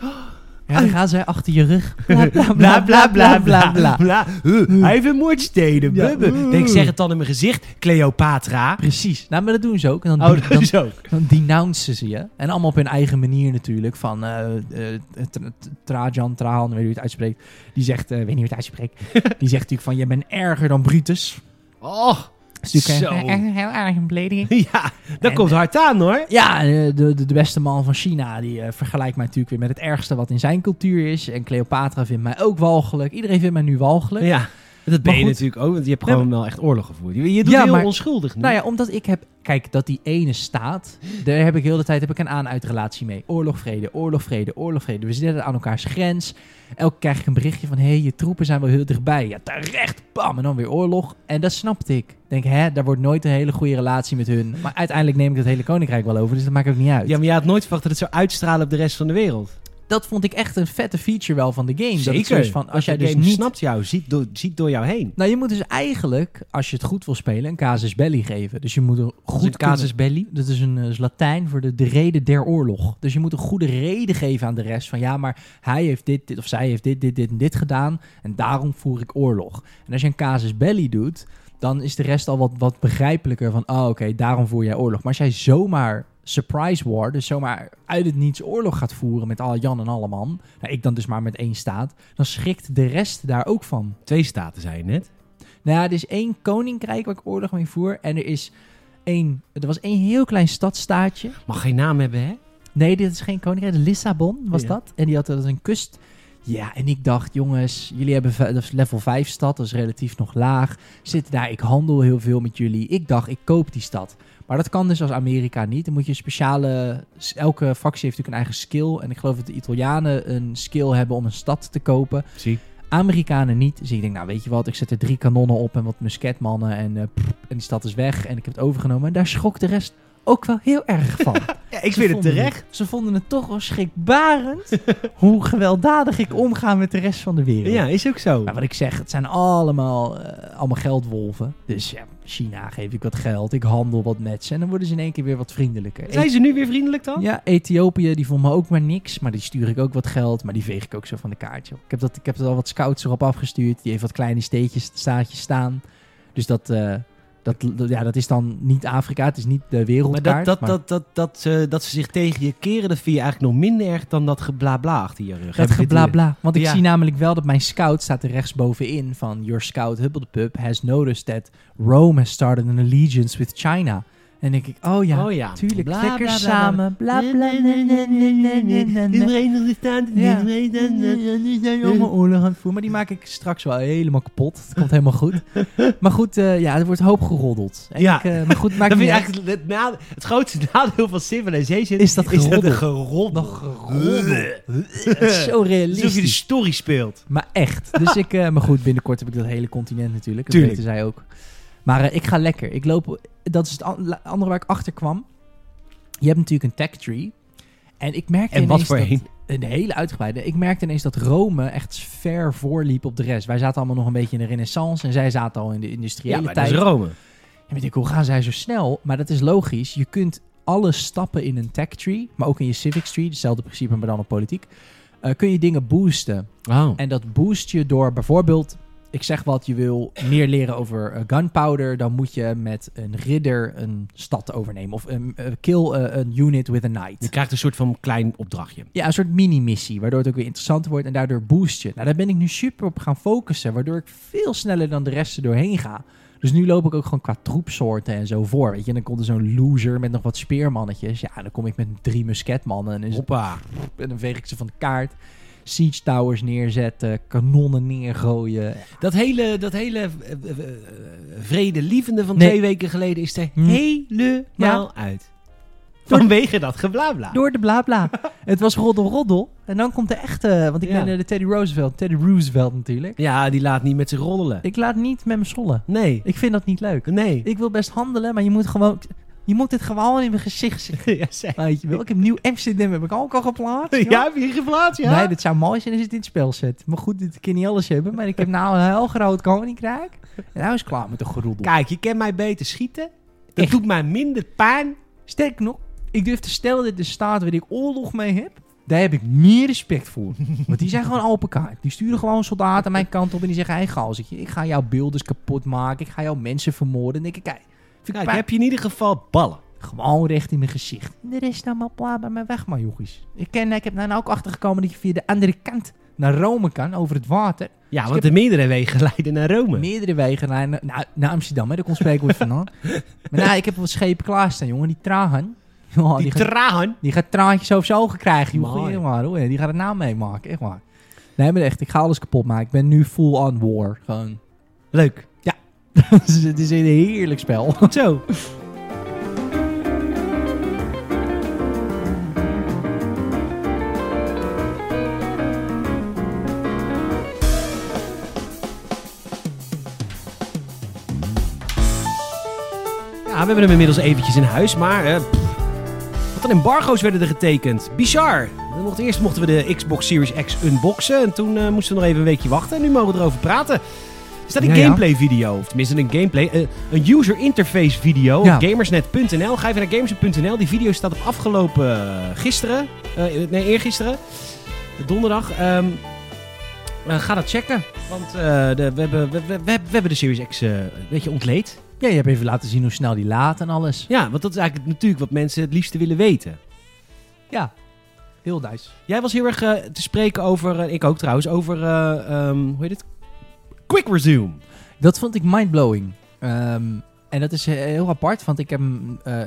[SPEAKER 1] Ja, dan gaan zij achter je rug. Bla, bla,
[SPEAKER 2] Bla bla bla bla bla. bla. Huh, Hij heeft een moordsteden.
[SPEAKER 1] Ja.
[SPEAKER 2] bubbe.
[SPEAKER 1] Huh.
[SPEAKER 2] Nee, ik zeg het dan in mijn gezicht. Cleopatra.
[SPEAKER 1] Precies. Nou, maar dat doen ze ook. En dan,
[SPEAKER 2] Oh, dat
[SPEAKER 1] dan,
[SPEAKER 2] is ook.
[SPEAKER 1] Dan denouncen ze je. En allemaal op hun eigen manier natuurlijk. Van eh, eh, Tra- Trajan, Trahan, weet niet hoe je het uitspreekt. Die zegt, eh, weet niet hoe je het uitspreekt. Die zegt natuurlijk van, je bent erger dan Brutus.
[SPEAKER 2] Oh,
[SPEAKER 1] Dat is natuurlijk
[SPEAKER 2] Zo.
[SPEAKER 1] een- een heel erg een belediging.
[SPEAKER 2] Ja, dat
[SPEAKER 1] En-
[SPEAKER 2] komt hard aan hoor.
[SPEAKER 1] Ja, eh, de, de, de beste man van China, die eh, vergelijkt mij natuurlijk weer met het ergste wat in zijn cultuur is. En Cleopatra vindt mij ook walgelijk. Iedereen vindt mij nu walgelijk.
[SPEAKER 2] Ja, dat
[SPEAKER 1] Maar
[SPEAKER 2] ben je
[SPEAKER 1] goed.
[SPEAKER 2] natuurlijk ook, want je hebt
[SPEAKER 1] Nee,
[SPEAKER 2] gewoon wel echt oorlog gevoerd. Je, je doet
[SPEAKER 1] Ja,
[SPEAKER 2] heel
[SPEAKER 1] maar-
[SPEAKER 2] onschuldig nu.
[SPEAKER 1] Nou ja, omdat ik heb... Kijk, dat die ene staat, daar heb ik heel de tijd heb ik een aan-uitrelatie mee. Oorlog, vrede, oorlog, vrede, oorlog, vrede. We zitten aan elkaars grens. Elke keer krijg ik een berichtje van... Hé, hey, je troepen zijn wel heel dichtbij. Ja, terecht, bam, en dan weer oorlog. En dat snapte ik. Ik denk, hè, daar wordt nooit een hele goede relatie met hun. Maar uiteindelijk neem ik het hele koninkrijk wel over, dus dat maakt ook niet uit.
[SPEAKER 2] Ja, maar je had nooit verwacht dat het zou uitstralen op de rest van de wereld.
[SPEAKER 1] dat vond ik echt een vette feature wel van de game. Dat het
[SPEAKER 2] Zeker.
[SPEAKER 1] zoiets van,
[SPEAKER 2] Dat
[SPEAKER 1] als jij
[SPEAKER 2] de
[SPEAKER 1] dus
[SPEAKER 2] game
[SPEAKER 1] niet...
[SPEAKER 2] snapt jou, ziet door, ziet door jou heen.
[SPEAKER 1] Nou, je moet dus eigenlijk, als je het goed wil spelen, een casus belli geven. Dus je moet een goed
[SPEAKER 2] een casus
[SPEAKER 1] belli? Dat is een eh, is Latijn voor de, de reden der oorlog. Dus je moet een goede reden geven aan de rest. Van ja, maar hij heeft dit, dit of zij heeft dit, dit, dit en dit gedaan. En daarom voer ik oorlog. En als je een casus belli doet, dan is de rest al wat, wat begrijpelijker. Van oh, oké, daarom voer jij oorlog. Maar als jij zomaar surprise war, dus zomaar uit het niets oorlog gaat voeren met al Jan en Alleman. Nou, ik dan dus maar met één staat. Dan schrikt de rest daar ook van.
[SPEAKER 2] Twee staten zei je net.
[SPEAKER 1] Nou ja, er is één koninkrijk waar ik oorlog mee voer. En er is één... Er was één heel klein stadstaatje.
[SPEAKER 2] Mag geen naam hebben, hè?
[SPEAKER 1] Nee, dit is geen koninkrijk. Lissabon was
[SPEAKER 2] Ja.
[SPEAKER 1] dat. En die had dat een kust... Ja, en ik dacht, jongens, jullie hebben ve- dat is level 5 stad, dat is relatief nog laag. Zit daar, ik handel heel veel met jullie. Ik dacht, ik koop die stad. Maar dat kan dus als Amerika niet. Dan moet je een speciale. s- Elke factie heeft natuurlijk een eigen skill. En ik geloof dat de Italianen een skill hebben om een stad te kopen.
[SPEAKER 2] Zie.
[SPEAKER 1] Amerikanen niet. Dus ik denk, nou weet je wat, ik zet er drie kanonnen op en wat musketmannen en, eh, pff, en die stad is weg en ik heb het overgenomen. En daar schrok de rest ook wel heel erg van.
[SPEAKER 2] Ja,
[SPEAKER 1] Ze
[SPEAKER 2] ik vind het
[SPEAKER 1] vonden
[SPEAKER 2] terecht.
[SPEAKER 1] ze vonden het toch wel schrikbarend hoe gewelddadig ik omga met de rest van de wereld.
[SPEAKER 2] Ja, is ook zo.
[SPEAKER 1] Maar wat ik zeg, het zijn allemaal, eh, allemaal geldwolven. Dus ja, China geef ik wat geld, ik handel wat met ze en dan worden ze in één keer weer wat vriendelijker.
[SPEAKER 2] Zijn ze nu weer vriendelijk dan?
[SPEAKER 1] Ja, Ethiopië, die vond me ook maar niks. Maar die stuur ik ook wat geld. Maar die veeg ik ook zo van de kaart, joh. Ik heb, dat, ik heb er al wat scouts erop afgestuurd. Die heeft wat kleine steetjes, staatjes staan. Dus dat, eh, dat, dat- ja, dat is dan niet Afrika. Het is niet de
[SPEAKER 2] Maar
[SPEAKER 1] wereldkaart.
[SPEAKER 2] dat, dat, dat, dat, dat, ze, dat ze zich tegen je keren, dat vind je eigenlijk nog minder erg dan dat geblabla achter je rug.
[SPEAKER 1] Het
[SPEAKER 2] Heb ik dit idee?
[SPEAKER 1] geblabla. Want ik
[SPEAKER 2] Ja.
[SPEAKER 1] zie namelijk wel dat mijn scout staat er rechtsbovenin van... Your scout Hubblepub has noticed that Rome has started an allegiance with China. En dan denk ik, oh ja,
[SPEAKER 2] Oh ja.
[SPEAKER 1] tuurlijk,
[SPEAKER 2] Bla,
[SPEAKER 1] lekker
[SPEAKER 2] bla, bla, bla.
[SPEAKER 1] samen. Bla, bla, bla, bla, bla, bla, bla, bla.
[SPEAKER 2] Verenigde Staten,
[SPEAKER 1] Ja.
[SPEAKER 2] de Verenigde Staten.
[SPEAKER 1] Die zijn allemaal oorlog aan het voeren. Maar die maak ik straks wel helemaal kapot. Het komt helemaal goed. Maar goed, eh, ja, er wordt hoop geroddeld. En
[SPEAKER 2] Ja.
[SPEAKER 1] ik, eh, maar goed, maakt
[SPEAKER 2] Dat
[SPEAKER 1] niet
[SPEAKER 2] vind ik
[SPEAKER 1] uit.
[SPEAKER 2] eigenlijk het, na- het grootste nadeel van Civilization.
[SPEAKER 1] Is dat
[SPEAKER 2] de
[SPEAKER 1] geroddel.
[SPEAKER 2] geroddel.
[SPEAKER 1] Nog geroddeld. Het is zo
[SPEAKER 2] Alsof je de
[SPEAKER 1] realistisch.
[SPEAKER 2] story speelt.
[SPEAKER 1] Maar echt. Dus ik, eh, maar goed, binnenkort heb ik dat hele continent natuurlijk. Dat
[SPEAKER 2] Tuurlijk.
[SPEAKER 1] weten zij ook. Maar eh, ik ga lekker. Ik loop, dat is het an- la- andere waar ik achter kwam. Je hebt natuurlijk een tech tree. En ik merkte
[SPEAKER 2] En wat
[SPEAKER 1] ineens
[SPEAKER 2] voor
[SPEAKER 1] dat-
[SPEAKER 2] een?
[SPEAKER 1] Een hele uitgebreide. Ik merkte ineens dat Rome echt ver voorliep op de rest. Wij zaten allemaal nog een beetje in de renaissance en zij zaten al in de industriële
[SPEAKER 2] Ja, maar dat
[SPEAKER 1] tijd.
[SPEAKER 2] is Rome.
[SPEAKER 1] En weet ik, hoe gaan zij zo snel? Maar dat is logisch. Je kunt alle stappen in een tech tree, maar ook in je civics tree, hetzelfde principe, maar dan op politiek, eh, kun je dingen boosten.
[SPEAKER 2] Oh.
[SPEAKER 1] En dat boost je door bijvoorbeeld, ik zeg wat, je wil meer leren over eh, gunpowder, dan moet je met een ridder een stad overnemen. Of een eh, kill eh, een unit with a knight.
[SPEAKER 2] Je krijgt een soort van klein opdrachtje.
[SPEAKER 1] Ja, een soort mini-missie, waardoor het ook weer interessanter wordt en daardoor boost je. Nou, daar ben ik nu super op gaan focussen, waardoor ik veel sneller dan de rest er doorheen ga. Dus nu loop ik ook gewoon qua troepsoorten en zo voor, weet je. En dan komt er zo'n loser met nog wat speermannetjes. Ja, dan kom ik met drie musketmannen en, is,
[SPEAKER 2] Hoppa.
[SPEAKER 1] en dan veeg ik ze van de kaart. Siege towers neerzetten, kanonnen neergooien.
[SPEAKER 2] Dat hele, dat hele eh, eh, eh, vredelievende van
[SPEAKER 1] Nee.
[SPEAKER 2] twee weken geleden is er
[SPEAKER 1] Hm.
[SPEAKER 2] helemaal uit. Vanwege dat geblabla.
[SPEAKER 1] Door de blabla. het was roddel roddel. En dan komt de echte, want ik
[SPEAKER 2] Ja.
[SPEAKER 1] ben eh, de Teddy Roosevelt, Teddy Roosevelt natuurlijk.
[SPEAKER 2] Ja, die laat niet met zich roddelen.
[SPEAKER 1] Ik laat niet met me sollen.
[SPEAKER 2] Nee.
[SPEAKER 1] Ik vind dat niet leuk.
[SPEAKER 2] Nee.
[SPEAKER 1] Ik wil best handelen, maar je moet gewoon... Je moet dit gewoon in mijn gezicht zien.
[SPEAKER 2] ja, zij-
[SPEAKER 1] Weet je wel, ik heb nieuw Amsterdam, heb ik ook al geplaatst. joh.
[SPEAKER 2] ja, heb je geplaatst, ja?
[SPEAKER 1] Nee, dat zou mooi zijn als het in het spel zet. Maar goed, dit kan niet alles hebben. Maar ik heb nou een heel groot koninkrijk. En nou is het klaar met de geroedel.
[SPEAKER 2] Kijk, je kan mij beter schieten. Dat
[SPEAKER 1] Echt.
[SPEAKER 2] doet mij minder pijn.
[SPEAKER 1] Sterk nog, ik durf te stellen dat de staat waar ik oorlog mee heb... Daar heb ik meer respect voor. Want die zijn gewoon open kaart. Die sturen gewoon soldaten mijn kant op en die zeggen... Hé, hey, gauwzetje, ik ga jouw beelders kapot maken. Ik ga jouw mensen vermoorden. En dan denk ik, kijk,
[SPEAKER 2] Kijk,
[SPEAKER 1] pijn.
[SPEAKER 2] heb je in ieder geval ballen.
[SPEAKER 1] Gewoon recht in mijn gezicht. De rest nou maar pla bij mij weg, maar jongens. Ik, ken, ik heb nou ook achtergekomen dat je via de andere kant naar Rome kan, over het water.
[SPEAKER 2] Ja, want de meerdere wegen leiden naar Rome.
[SPEAKER 1] Meerdere wegen naar, naar, naar Amsterdam, hè. daar komt spreekwoord vandaan. maar nou, ik heb wat schepen klaarstaan, jongen. Die trahan. Joh, die,
[SPEAKER 2] die
[SPEAKER 1] gaat,
[SPEAKER 2] traan.
[SPEAKER 1] die gaat traantjes over zijn ogen krijgen, jongen.
[SPEAKER 2] Mooi.
[SPEAKER 1] Echt waar, hoor. Die gaat het nou meemaken, echt waar. Nee, maar echt, ik ga alles kapot maken. Ik ben nu full on war, gewoon.
[SPEAKER 2] Leuk.
[SPEAKER 1] het is- het is een heerlijk spel.
[SPEAKER 2] Goed zo. Ja, we hebben hem inmiddels eventjes in huis, maar... eh, pff, wat van embargo's werden er getekend. Bizar. We mochten- Eerst mochten we de Xbox Series X unboxen. En toen eh, moesten we nog even een weekje wachten. En nu mogen we erover praten. Er staat een
[SPEAKER 1] Ja, ja.
[SPEAKER 2] gameplay video. Of tenminste een gameplay. eh, een user interface video.
[SPEAKER 1] Ja.
[SPEAKER 2] Op gamersnet.nl. Ga even naar gamersnet.nl. Die video staat op afgelopen eh, gisteren. Eh, nee, eergisteren. Donderdag. Ehm, eh, ga dat checken. Want eh, de, we, hebben, we, we, we hebben de Series X eh, een beetje ontleed.
[SPEAKER 1] Ja, je hebt even laten zien hoe snel die laat en alles.
[SPEAKER 2] Ja, want dat is eigenlijk natuurlijk wat mensen het liefste willen weten.
[SPEAKER 1] Ja, heel nice.
[SPEAKER 2] Jij was heel erg eh, te spreken over, eh, ik ook trouwens, over, eh, ehm, hoe heet het? Quick Resume.
[SPEAKER 1] Dat vond ik mindblowing. Ehm en dat is he- heel apart, want ik heb hem eh,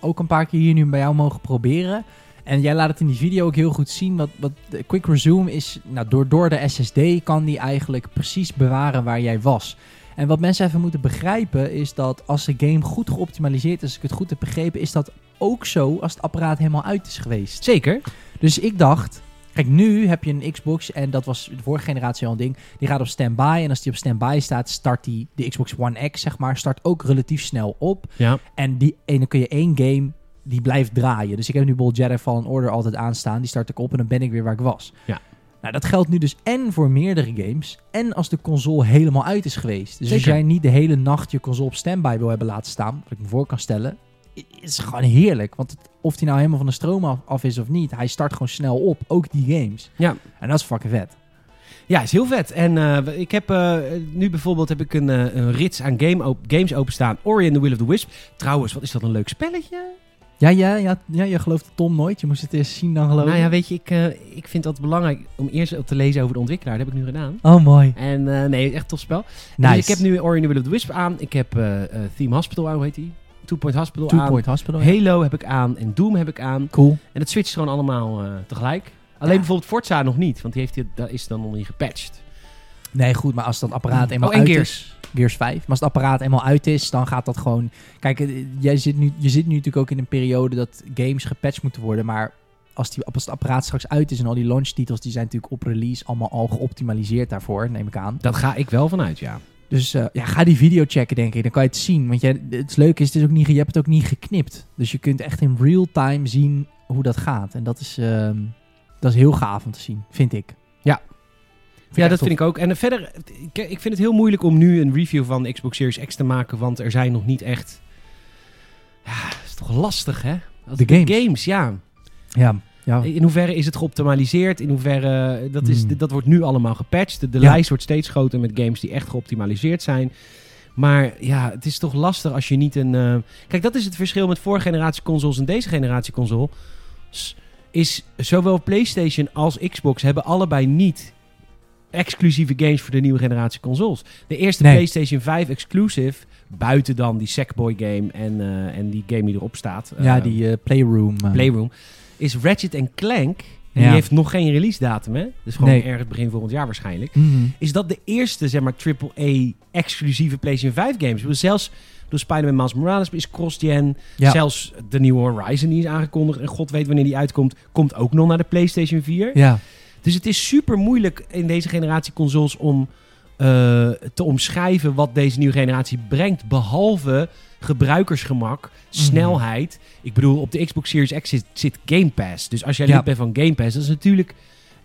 [SPEAKER 1] ook een paar keer hier nu bij jou mogen proberen. En jij laat het in die video ook heel goed zien. Wat, wat de Quick Resume is, nou, door, door de SSD kan die eigenlijk precies bewaren waar jij was. En wat mensen even moeten begrijpen is dat als de game goed geoptimaliseerd is, als ik het goed heb begrepen, is dat ook zo als het apparaat helemaal uit is geweest.
[SPEAKER 2] Zeker.
[SPEAKER 1] Dus ik dacht, kijk, nu heb je een Xbox en dat was de vorige generatie al een ding. Die gaat op standby en als die op standby staat, start die de Xbox One X, zeg maar, start ook relatief snel op.
[SPEAKER 2] Ja.
[SPEAKER 1] En, die, en dan kun je één game, die blijft draaien. Dus ik heb nu Bol Jedi Fallen Order altijd aanstaan, die start ik op en dan ben ik weer waar ik was.
[SPEAKER 2] Ja.
[SPEAKER 1] Nou, dat geldt nu dus en voor meerdere games en als de console helemaal uit is geweest. Dus als
[SPEAKER 2] Zeker.
[SPEAKER 1] jij niet de hele nacht je console op standby wil hebben laten staan, wat ik me voor kan stellen, i- is gewoon heerlijk. Want het- of die nou helemaal van de stroom af, af is of niet, hij start gewoon snel op, ook die games.
[SPEAKER 2] Ja.
[SPEAKER 1] En dat is fucking vet.
[SPEAKER 2] Ja, is heel vet. En eh, ik heb eh, nu bijvoorbeeld heb ik een, eh, een rits aan game op games openstaan. Ori and the Will of the Wisp. Trouwens, wat is dat een leuk spelletje?
[SPEAKER 1] Ja, ja, ja, ja, je gelooft Tom nooit. Je moest het eerst zien dan geloven.
[SPEAKER 2] Nou ja, weet je, ik, eh, ik vind dat belangrijk om eerst op te lezen over de ontwikkelaar. Dat heb ik nu gedaan.
[SPEAKER 1] Oh, mooi.
[SPEAKER 2] En eh, nee, echt tof spel.
[SPEAKER 1] Nice.
[SPEAKER 2] Dus ik heb nu Ori and the Will of the Wisp aan. Ik heb eh, eh, Theme Hospital aan, hoe heet die? Two Point Hospital
[SPEAKER 1] Two
[SPEAKER 2] aan.
[SPEAKER 1] Point Hospital.
[SPEAKER 2] Halo heb ik aan en Doom heb ik aan.
[SPEAKER 1] Cool.
[SPEAKER 2] En dat switcht gewoon allemaal eh, tegelijk. Alleen
[SPEAKER 1] Ja.
[SPEAKER 2] bijvoorbeeld Forza nog niet, want die heeft, die- daar is dan nog niet gepatcht.
[SPEAKER 1] Nee, goed, maar als dat apparaat eenmaal
[SPEAKER 2] en
[SPEAKER 1] uit
[SPEAKER 2] Gears.
[SPEAKER 1] is... Gears 5. Maar als het apparaat eenmaal uit is, dan gaat dat gewoon... Kijk, eh, jij zit nu, je zit nu natuurlijk ook in een periode dat games gepatcht moeten worden, maar... Als, die, als het apparaat straks uit is en al die launchtitels, die zijn natuurlijk op release allemaal al geoptimaliseerd daarvoor, neem ik aan.
[SPEAKER 2] Dat ga ik wel vanuit, ja.
[SPEAKER 1] Dus eh, ja, ga die video checken, denk ik. Dan kan je het zien. Want jij, het leuke is, het is ook niet, ge- je hebt het ook niet geknipt. Dus je kunt echt in real time zien hoe dat gaat. En dat is, ehm, dat is heel gaaf om te zien, vind ik.
[SPEAKER 2] Ja.
[SPEAKER 1] Vind
[SPEAKER 2] Ja,
[SPEAKER 1] echt
[SPEAKER 2] dat
[SPEAKER 1] tof.
[SPEAKER 2] vind ik ook. En eh, verder, ik, ik vind het heel moeilijk om nu een review van de Xbox Series X te maken, want er zijn nog niet echt... Ja, dat is toch lastig, hè? Als-
[SPEAKER 1] De games.
[SPEAKER 2] ja.
[SPEAKER 1] Ja, ja.
[SPEAKER 2] In hoeverre is het geoptimaliseerd? In hoeverre... eh, Dat, is,
[SPEAKER 1] Hmm.
[SPEAKER 2] dit- dat wordt nu allemaal gepatcht. De, de
[SPEAKER 1] Ja.
[SPEAKER 2] lijst wordt steeds groter met games die echt geoptimaliseerd zijn. Maar ja, het is toch lastig als je niet een... eh, Kijk, dat is het verschil met vorige generatie consoles en deze generatie console. S- Is zowel PlayStation als Xbox hebben allebei niet exclusieve games voor de nieuwe generatie consoles. De eerste
[SPEAKER 1] Nee.
[SPEAKER 2] PlayStation 5 exclusive, buiten dan die Sackboy game en, eh, en die game die erop staat.
[SPEAKER 1] ja,
[SPEAKER 2] eh,
[SPEAKER 1] die eh, Playroom. eh,
[SPEAKER 2] Playroom. Is Ratchet en Clank. En
[SPEAKER 1] Ja.
[SPEAKER 2] Die heeft nog geen release datum, hè? Dus gewoon
[SPEAKER 1] Nee.
[SPEAKER 2] ergens begin volgend jaar waarschijnlijk.
[SPEAKER 1] Mhm.
[SPEAKER 2] Is dat de eerste, zeg maar, AAA exclusieve PlayStation 5 games? Dus zelfs door Spider-Man Miles Morales is cross-gen.
[SPEAKER 1] Ja.
[SPEAKER 2] Zelfs de nieuwe Horizon die is aangekondigd. En god weet wanneer die uitkomt, komt ook nog naar de PlayStation 4.
[SPEAKER 1] ja.
[SPEAKER 2] Dus het is super moeilijk in deze generatie consoles om eh, te omschrijven wat deze nieuwe generatie brengt. Behalve gebruikersgemak,
[SPEAKER 1] Mhm.
[SPEAKER 2] snelheid. Ik bedoel, op de Xbox Series X zit, zit Game Pass. Dus als jij
[SPEAKER 1] Ja.
[SPEAKER 2] lid bent van Game Pass, dat is natuurlijk.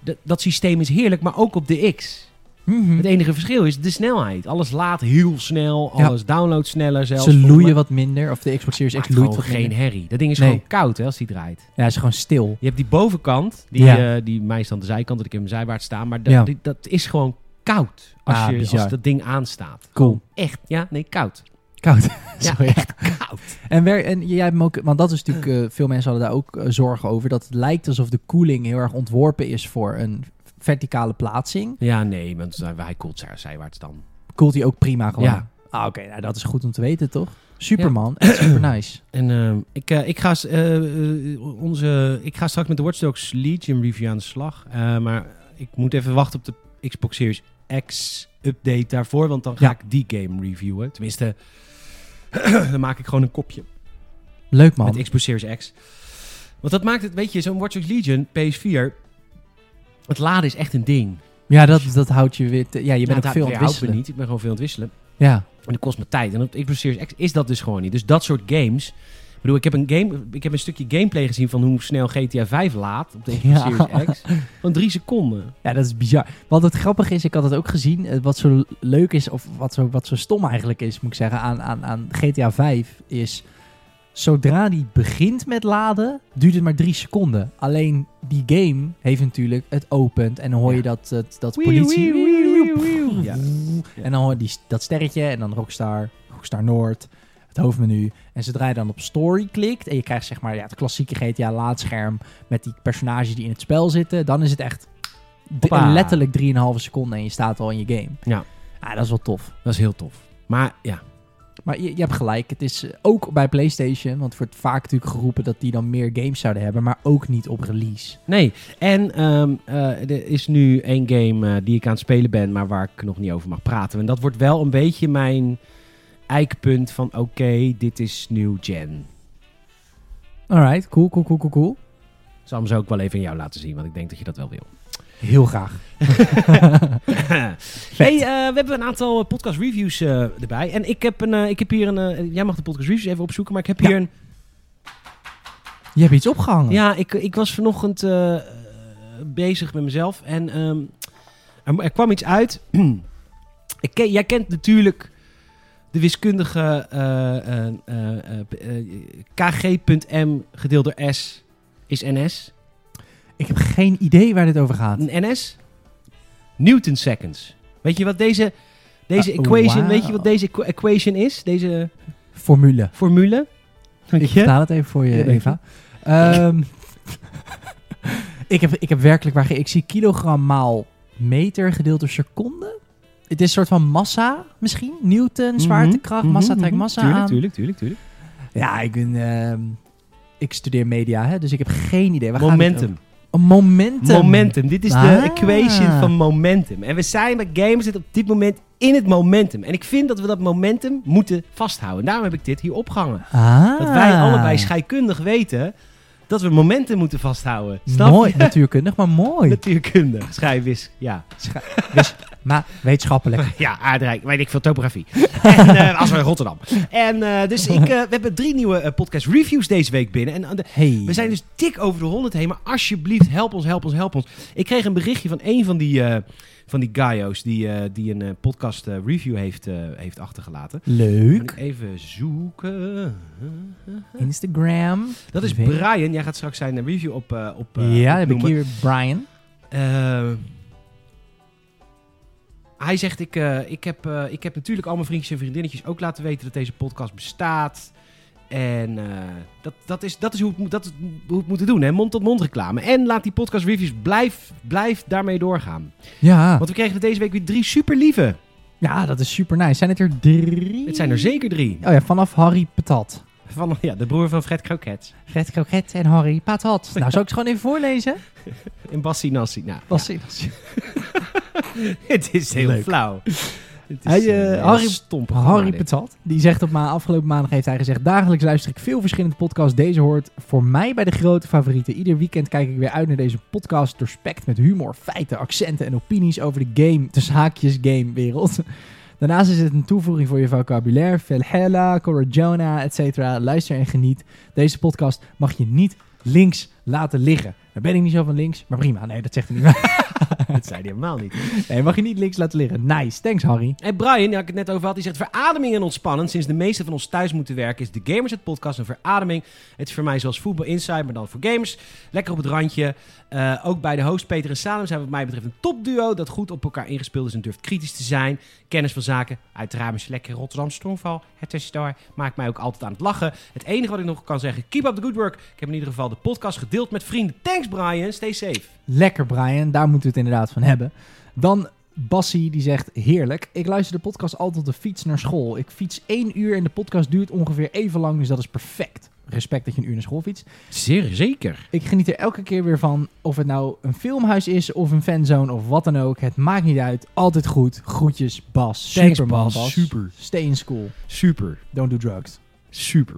[SPEAKER 2] Dat, dat systeem is heerlijk, maar ook op de X.
[SPEAKER 1] Mhm.
[SPEAKER 2] Het enige verschil is de snelheid. Alles laat heel snel,
[SPEAKER 1] Ja.
[SPEAKER 2] alles download sneller zelfs.
[SPEAKER 1] Ze
[SPEAKER 2] Volgens mij
[SPEAKER 1] loeien wat minder. Of de Xbox Series
[SPEAKER 2] maakt
[SPEAKER 1] X loeit
[SPEAKER 2] gewoon
[SPEAKER 1] wat
[SPEAKER 2] geen
[SPEAKER 1] minder.
[SPEAKER 2] herrie. Dat ding is
[SPEAKER 1] Nee.
[SPEAKER 2] gewoon koud hè, als die draait.
[SPEAKER 1] Ja, het is gewoon stil.
[SPEAKER 2] Je hebt die bovenkant, die,
[SPEAKER 1] Ja.
[SPEAKER 2] eh, die mij is aan de zijkant, dat ik hem zijwaarts sta. Maar dat,
[SPEAKER 1] Ja.
[SPEAKER 2] die- dat is gewoon koud als,
[SPEAKER 1] Ah,
[SPEAKER 2] je,
[SPEAKER 1] bizar.
[SPEAKER 2] als dat ding aanstaat.
[SPEAKER 1] Cool.
[SPEAKER 2] Echt, ja? Nee, koud.
[SPEAKER 1] Koud. Sorry.
[SPEAKER 2] Koud.
[SPEAKER 1] En, wer- en jij hebt hem ook, want dat is natuurlijk, eh, veel mensen hadden daar ook eh, zorgen over, dat het lijkt alsof de koeling heel erg ontworpen is voor een verticale plaatsing.
[SPEAKER 2] Ja, nee, want hij- hij koelt zij- zijwaarts dan.
[SPEAKER 1] Koelt hij ook prima gewoon.
[SPEAKER 2] Ja.
[SPEAKER 1] Ah, oké, nou, dat is goed om te weten, toch? Superman, echt super nice.
[SPEAKER 2] En ehm, ik, eh, ik, ga, s- eh, eh, onze, ik ga straks met de Watch Dogs Legion review aan de slag. Eh, maar ik moet even wachten op de Xbox Series X update daarvoor. Want dan ga
[SPEAKER 1] Ja.
[SPEAKER 2] ik die game reviewen. Tenminste, dan maak ik gewoon een kopje.
[SPEAKER 1] Leuk man.
[SPEAKER 2] Met Xbox Series X. Want dat maakt het, weet je, zo'n Watch Dogs Legion, PS4... Het laden is echt een ding.
[SPEAKER 1] Ja, dat, dat houdt je weer. te- ja, je
[SPEAKER 2] Nou,
[SPEAKER 1] bent
[SPEAKER 2] dat
[SPEAKER 1] ook veel aan het
[SPEAKER 2] houdt- houdt me
[SPEAKER 1] wisselen.
[SPEAKER 2] niet. Ik ben gewoon veel aan het wisselen.
[SPEAKER 1] Ja,
[SPEAKER 2] En dat kost me tijd. En op de Xbox Series X is dat dus gewoon niet. Dus dat soort games bedoel, ik heb, een game, ik heb een stukje gameplay gezien van hoe snel GTA 5 laat op de
[SPEAKER 1] Ja.
[SPEAKER 2] Series X. Van drie seconden.
[SPEAKER 1] Ja, dat is bizar. Wat het grappige is, ik had het ook gezien. eh, Wat zo leuk is, of wat zo, wat zo stom eigenlijk is, moet ik zeggen, aan, aan, aan GTA 5 is. Zodra die begint met laden, duurt het maar drie seconden. Alleen die game heeft natuurlijk, het opent en dan hoor je
[SPEAKER 2] Ja.
[SPEAKER 1] dat, dat, dat
[SPEAKER 2] Wieu,
[SPEAKER 1] politie...
[SPEAKER 2] wieu, wieu, wieu. Ja.
[SPEAKER 1] En dan hoor je die, dat sterretje en dan Rockstar, Rockstar Noord, het hoofdmenu. En zodra je dan op story klikt en je krijgt zeg maar ja, het klassieke GTA laadscherm met die personages die in het spel zitten, dan is het echt d-
[SPEAKER 2] Hoppa.
[SPEAKER 1] letterlijk 3,5 seconden en je staat al in je game.
[SPEAKER 2] Ja.
[SPEAKER 1] Ah, dat is wel tof.
[SPEAKER 2] Dat is heel tof. Maar ja,
[SPEAKER 1] Maar je, je hebt gelijk, het is eh, ook bij PlayStation, want het wordt vaak natuurlijk geroepen dat die dan meer games zouden hebben, maar ook niet op release.
[SPEAKER 2] nee. En ehm, eh, er is nu één game eh, die ik aan het spelen ben, maar waar ik nog niet over mag praten. En dat wordt wel een beetje mijn eikpunt van oké, dit is new gen.
[SPEAKER 1] Alright, cool, cool, cool, cool, cool.
[SPEAKER 2] Ik zal hem zo ook wel even aan jou laten zien, want ik denk dat je dat wel wil.
[SPEAKER 1] Heel graag.
[SPEAKER 2] hey, eh, we hebben een aantal eh, podcast reviews eh, erbij. En ik heb, een, eh, ik heb hier een. eh, jij mag de podcast reviews even opzoeken, maar ik heb hier een.
[SPEAKER 1] Je hebt iets opgehangen.
[SPEAKER 2] Ja, ik, ik was vanochtend eh, eh, bezig met mezelf en ehm, er, er kwam iets uit. ik ken, jij kent natuurlijk de wiskundige eh, eh, eh, eh, eh, kg.m gedeeld door s is ns.
[SPEAKER 1] Ik heb geen idee waar dit over gaat.
[SPEAKER 2] Een NS? Newton seconds. Weet je wat deze, deze
[SPEAKER 1] Ah,
[SPEAKER 2] equation,
[SPEAKER 1] wauw.
[SPEAKER 2] weet je wat deze equ- equation is? Deze
[SPEAKER 1] Formule.
[SPEAKER 2] formule? Dank
[SPEAKER 1] Ik vertaal het even voor je,
[SPEAKER 2] Ja, dank je.
[SPEAKER 1] Eva. Ehm, ik, heb, ik heb werkelijk waar... ge- Ik zie kilogram maal meter gedeeld door seconde. Het is een soort van massa misschien. Newton, zwaartekracht, massa trekt massa aan.
[SPEAKER 2] Mhm, Tuurlijk, tuurlijk, tuurlijk.
[SPEAKER 1] Ja, ik ben... ehm, ik studeer media, hè, dus ik heb geen idee. Waar gaat het
[SPEAKER 2] Momentum.
[SPEAKER 1] over? Oh, momentum.
[SPEAKER 2] Momentum. Dit is de
[SPEAKER 1] Ah.
[SPEAKER 2] equation van momentum. En we zijn bij Games op dit moment in het momentum. En ik vind dat we dat momentum moeten vasthouden. Daarom heb ik dit hier opgehangen.
[SPEAKER 1] Ah.
[SPEAKER 2] Dat wij allebei scheikundig weten dat we momentum moeten vasthouden. Snap
[SPEAKER 1] Mooi,
[SPEAKER 2] je?
[SPEAKER 1] natuurkundig, maar mooi.
[SPEAKER 2] Natuurkundig. Schrijfwis. Ja.
[SPEAKER 1] Maar wetenschappelijk.
[SPEAKER 2] Ja, aardrijk. Weet ik veel, topografie. en eh, als we in Rotterdam. En eh, dus ik, eh, we hebben drie nieuwe eh, podcast reviews deze week binnen. En eh, de-
[SPEAKER 1] Hey.
[SPEAKER 2] we zijn dus dik over de 100 heen. Maar alsjeblieft, help ons, help ons, help ons. Ik kreeg een berichtje van een van die, eh van die guyos die, eh, die een eh, podcast eh, review heeft, eh, heeft achtergelaten. Moet
[SPEAKER 1] Leuk.
[SPEAKER 2] ik even zoeken.
[SPEAKER 1] Instagram.
[SPEAKER 2] Dat is
[SPEAKER 1] Weet-
[SPEAKER 2] Brian. Jij gaat straks zijn review op, eh, op eh,
[SPEAKER 1] Ja, dan heb ik
[SPEAKER 2] opnoemen.
[SPEAKER 1] hier Brian.
[SPEAKER 2] Eh, hij zegt, ik, eh, ik, heb, eh, ik heb natuurlijk al mijn vriendjes en vriendinnetjes ook laten weten dat deze podcast bestaat. En eh, dat, dat, is, dat is hoe het, moet- dat is hoe het moeten doen, hè? mond-tot-mond reclame. En laat die podcast reviews, blijf, blijf daarmee doorgaan.
[SPEAKER 1] Ah. Ja.
[SPEAKER 2] Want we kregen deze week weer drie super lieve.
[SPEAKER 1] ja, dat is super nice. Zijn het er drie?
[SPEAKER 2] Het zijn er zeker drie.
[SPEAKER 1] Oh ja, vanaf Harry Patat.
[SPEAKER 2] Van ja, de broer van Fred Croquet
[SPEAKER 1] Fred Kroket en Harry Patat. Nou, zou ik ze gewoon even voorlezen?
[SPEAKER 2] en Bassi Nassi. Nou,
[SPEAKER 1] Was
[SPEAKER 2] het is heel
[SPEAKER 1] Leuk.
[SPEAKER 2] flauw. Het
[SPEAKER 1] Hij, eh,
[SPEAKER 2] een heel
[SPEAKER 1] Harry-
[SPEAKER 2] stom programma,
[SPEAKER 1] Harry
[SPEAKER 2] dit.
[SPEAKER 1] Patat, die zegt op ma afgelopen maandag heeft hij gezegd... Dagelijks luister ik veel verschillende podcasts. Deze hoort voor mij bij de grote favorieten. Ieder weekend kijk ik weer uit naar deze podcast. Doorspekt met humor, feiten, accenten en opinies over de game. Dus haakjes game wereld. Daarnaast is het een toevoeging voor je vocabulaire. Velhella, Corajona, et cetera. Luister en geniet. Deze podcast mag je niet links laten liggen. Daar ben ik niet zo van links, maar prima. Nee, dat zegt hij niet.
[SPEAKER 2] Dat zei hij helemaal niet.
[SPEAKER 1] Nee, mag je niet links laten liggen. Nice, thanks Harry.
[SPEAKER 2] En Brian, die ik het net over had, die zegt... Verademing en ontspannen. Sinds de meesten van ons thuis moeten werken... is de Gamers het podcast een verademing. Het is voor mij zoals Voetbal Insight, maar dan voor gamers. Lekker op het randje. Eh, ook bij de host Peter en Salem zijn wat mij betreft een topduo... dat goed op elkaar ingespeeld is en durft kritisch te zijn. Kennis van zaken, uiteraard mijn lekker Rotterdam Stormval. Het is daar, maakt mij ook altijd aan het lachen. Het enige wat ik nog kan zeggen, keep up the good work. Ik heb in ieder geval de podcast gedeeld met vrienden. Thanks Brian, stay safe.
[SPEAKER 1] Lekker Brian, daar moeten we het inderdaad van hebben. Dan Bassie, die zegt, heerlijk. Ik luister de podcast altijd op de fiets naar school. Ik fiets één uur en de podcast duurt ongeveer even lang, dus dat is perfect. Respect dat je een uur naar school fietst.
[SPEAKER 2] Zeer zeker.
[SPEAKER 1] Ik geniet er elke keer weer van, of het nou een filmhuis is of een fanzone of wat dan ook. Het maakt niet uit, altijd goed. Groetjes Bas.
[SPEAKER 2] Thanks,
[SPEAKER 1] Super man,
[SPEAKER 2] Bas. Super.
[SPEAKER 1] Stay in school.
[SPEAKER 2] Super,
[SPEAKER 1] Don't do drugs.
[SPEAKER 2] super.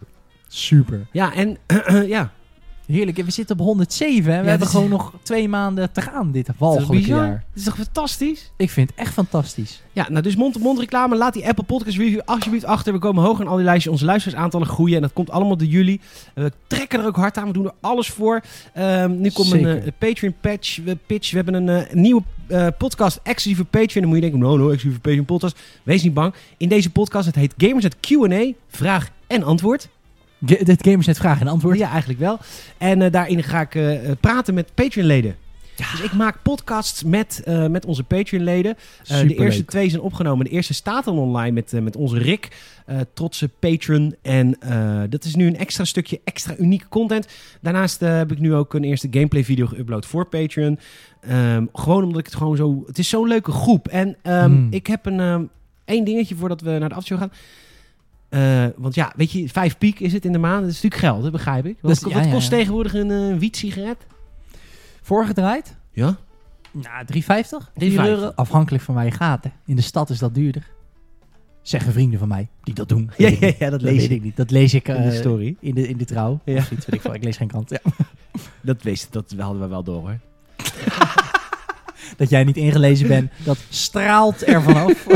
[SPEAKER 1] Super.
[SPEAKER 2] Ja, en ja,
[SPEAKER 1] Heerlijk. En We zitten op 107 en we
[SPEAKER 2] Ja,
[SPEAKER 1] hebben
[SPEAKER 2] dit-
[SPEAKER 1] gewoon nog twee maanden te gaan dit
[SPEAKER 2] Dat is
[SPEAKER 1] walgelijke
[SPEAKER 2] bizar.
[SPEAKER 1] jaar.
[SPEAKER 2] Dat is toch fantastisch?
[SPEAKER 1] Ik vind het echt fantastisch.
[SPEAKER 2] Ja, nou dus mond-op-mond reclame. Laat die Apple Podcast Review alsjeblieft achter. We komen hoog in al die lijstjes. Onze luisteraarsaantallen groeien. En dat komt allemaal door jullie. En We trekken er ook hard aan. We doen er alles voor. Ehm, nu komt een
[SPEAKER 1] Zeker.
[SPEAKER 2] eh, Patreon patch, we- pitch. We hebben een eh, nieuwe eh, podcast exclusief voor Patreon. Dan moet je denken, "Oh, no, no, exclusief voor Patreon podcast. Wees niet bang. In deze podcast, het heet Gamers het Q&A. Vraag en antwoord.
[SPEAKER 1] Ga- dit game is net vraag en antwoord.
[SPEAKER 2] Ja, eigenlijk wel. En eh, daarin ga ik eh, eh, praten met Patreon-leden. Dus ik maak podcasts met, eh, met onze Patreon-leden. Eh, de
[SPEAKER 1] Superleuk.
[SPEAKER 2] eerste twee zijn opgenomen. De eerste staat al online met, eh, met onze Rick, eh, trotse patron. En eh, dat is nu een extra stukje extra unieke content. Daarnaast eh, heb ik nu ook een eerste gameplay video geüpload voor Patreon. Ehm, gewoon omdat ik het gewoon zo... Het is zo'n leuke groep. En ehm,
[SPEAKER 1] Hmm.
[SPEAKER 2] ik heb een, ehm, één dingetje voordat we naar de afshow gaan. Eh, want ja, weet je, vijf piek is het in de maand. Dat is natuurlijk geld, dat begrijp ik. Wat,
[SPEAKER 1] Dat is- ja,
[SPEAKER 2] wat
[SPEAKER 1] ja,
[SPEAKER 2] kost
[SPEAKER 1] ja.
[SPEAKER 2] tegenwoordig een eh wiet-sigaret?
[SPEAKER 1] Voorgedraaid?
[SPEAKER 2] Ja?
[SPEAKER 1] Nou, 3,50? 4
[SPEAKER 2] €3,50.
[SPEAKER 1] euro. Afhankelijk van waar je gaat. hè. In de stad is dat duurder. Zeggen vrienden van mij die dat doen. Weet
[SPEAKER 2] Ja,
[SPEAKER 1] ik
[SPEAKER 2] ja,
[SPEAKER 1] niet.
[SPEAKER 2] ja, dat
[SPEAKER 1] Dat
[SPEAKER 2] lees
[SPEAKER 1] weet
[SPEAKER 2] ik
[SPEAKER 1] ik niet. Dat lees ik
[SPEAKER 2] in de
[SPEAKER 1] eh,
[SPEAKER 2] story.
[SPEAKER 1] in de, in de trouw.
[SPEAKER 2] Ja.
[SPEAKER 1] Ja. Of iets, weet ik veel. Ik lees geen krant. Ja.
[SPEAKER 2] Dat, wist, dat hadden we wel door, hoor.
[SPEAKER 1] Dat jij niet ingelezen bent, dat straalt er vanaf.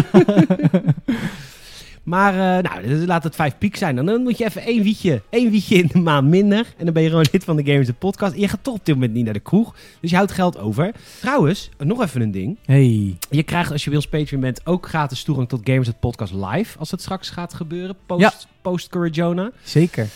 [SPEAKER 2] Maar eh, nou, dus laat het vijf piek zijn. Dan, dan moet je even één wietje, één wietje in de maand minder. En dan ben je gewoon lid van de Gamers de Podcast. En je gaat toch op dit moment niet naar de kroeg. Dus je houdt geld over. Trouwens, nog even een ding.
[SPEAKER 1] Hey.
[SPEAKER 2] Je krijgt als je Wils Patreon bent ook gratis toegang tot Gamers de Podcast live. Als dat straks gaat gebeuren. Post,
[SPEAKER 1] Ja.
[SPEAKER 2] post Corrigiona.
[SPEAKER 1] Zeker.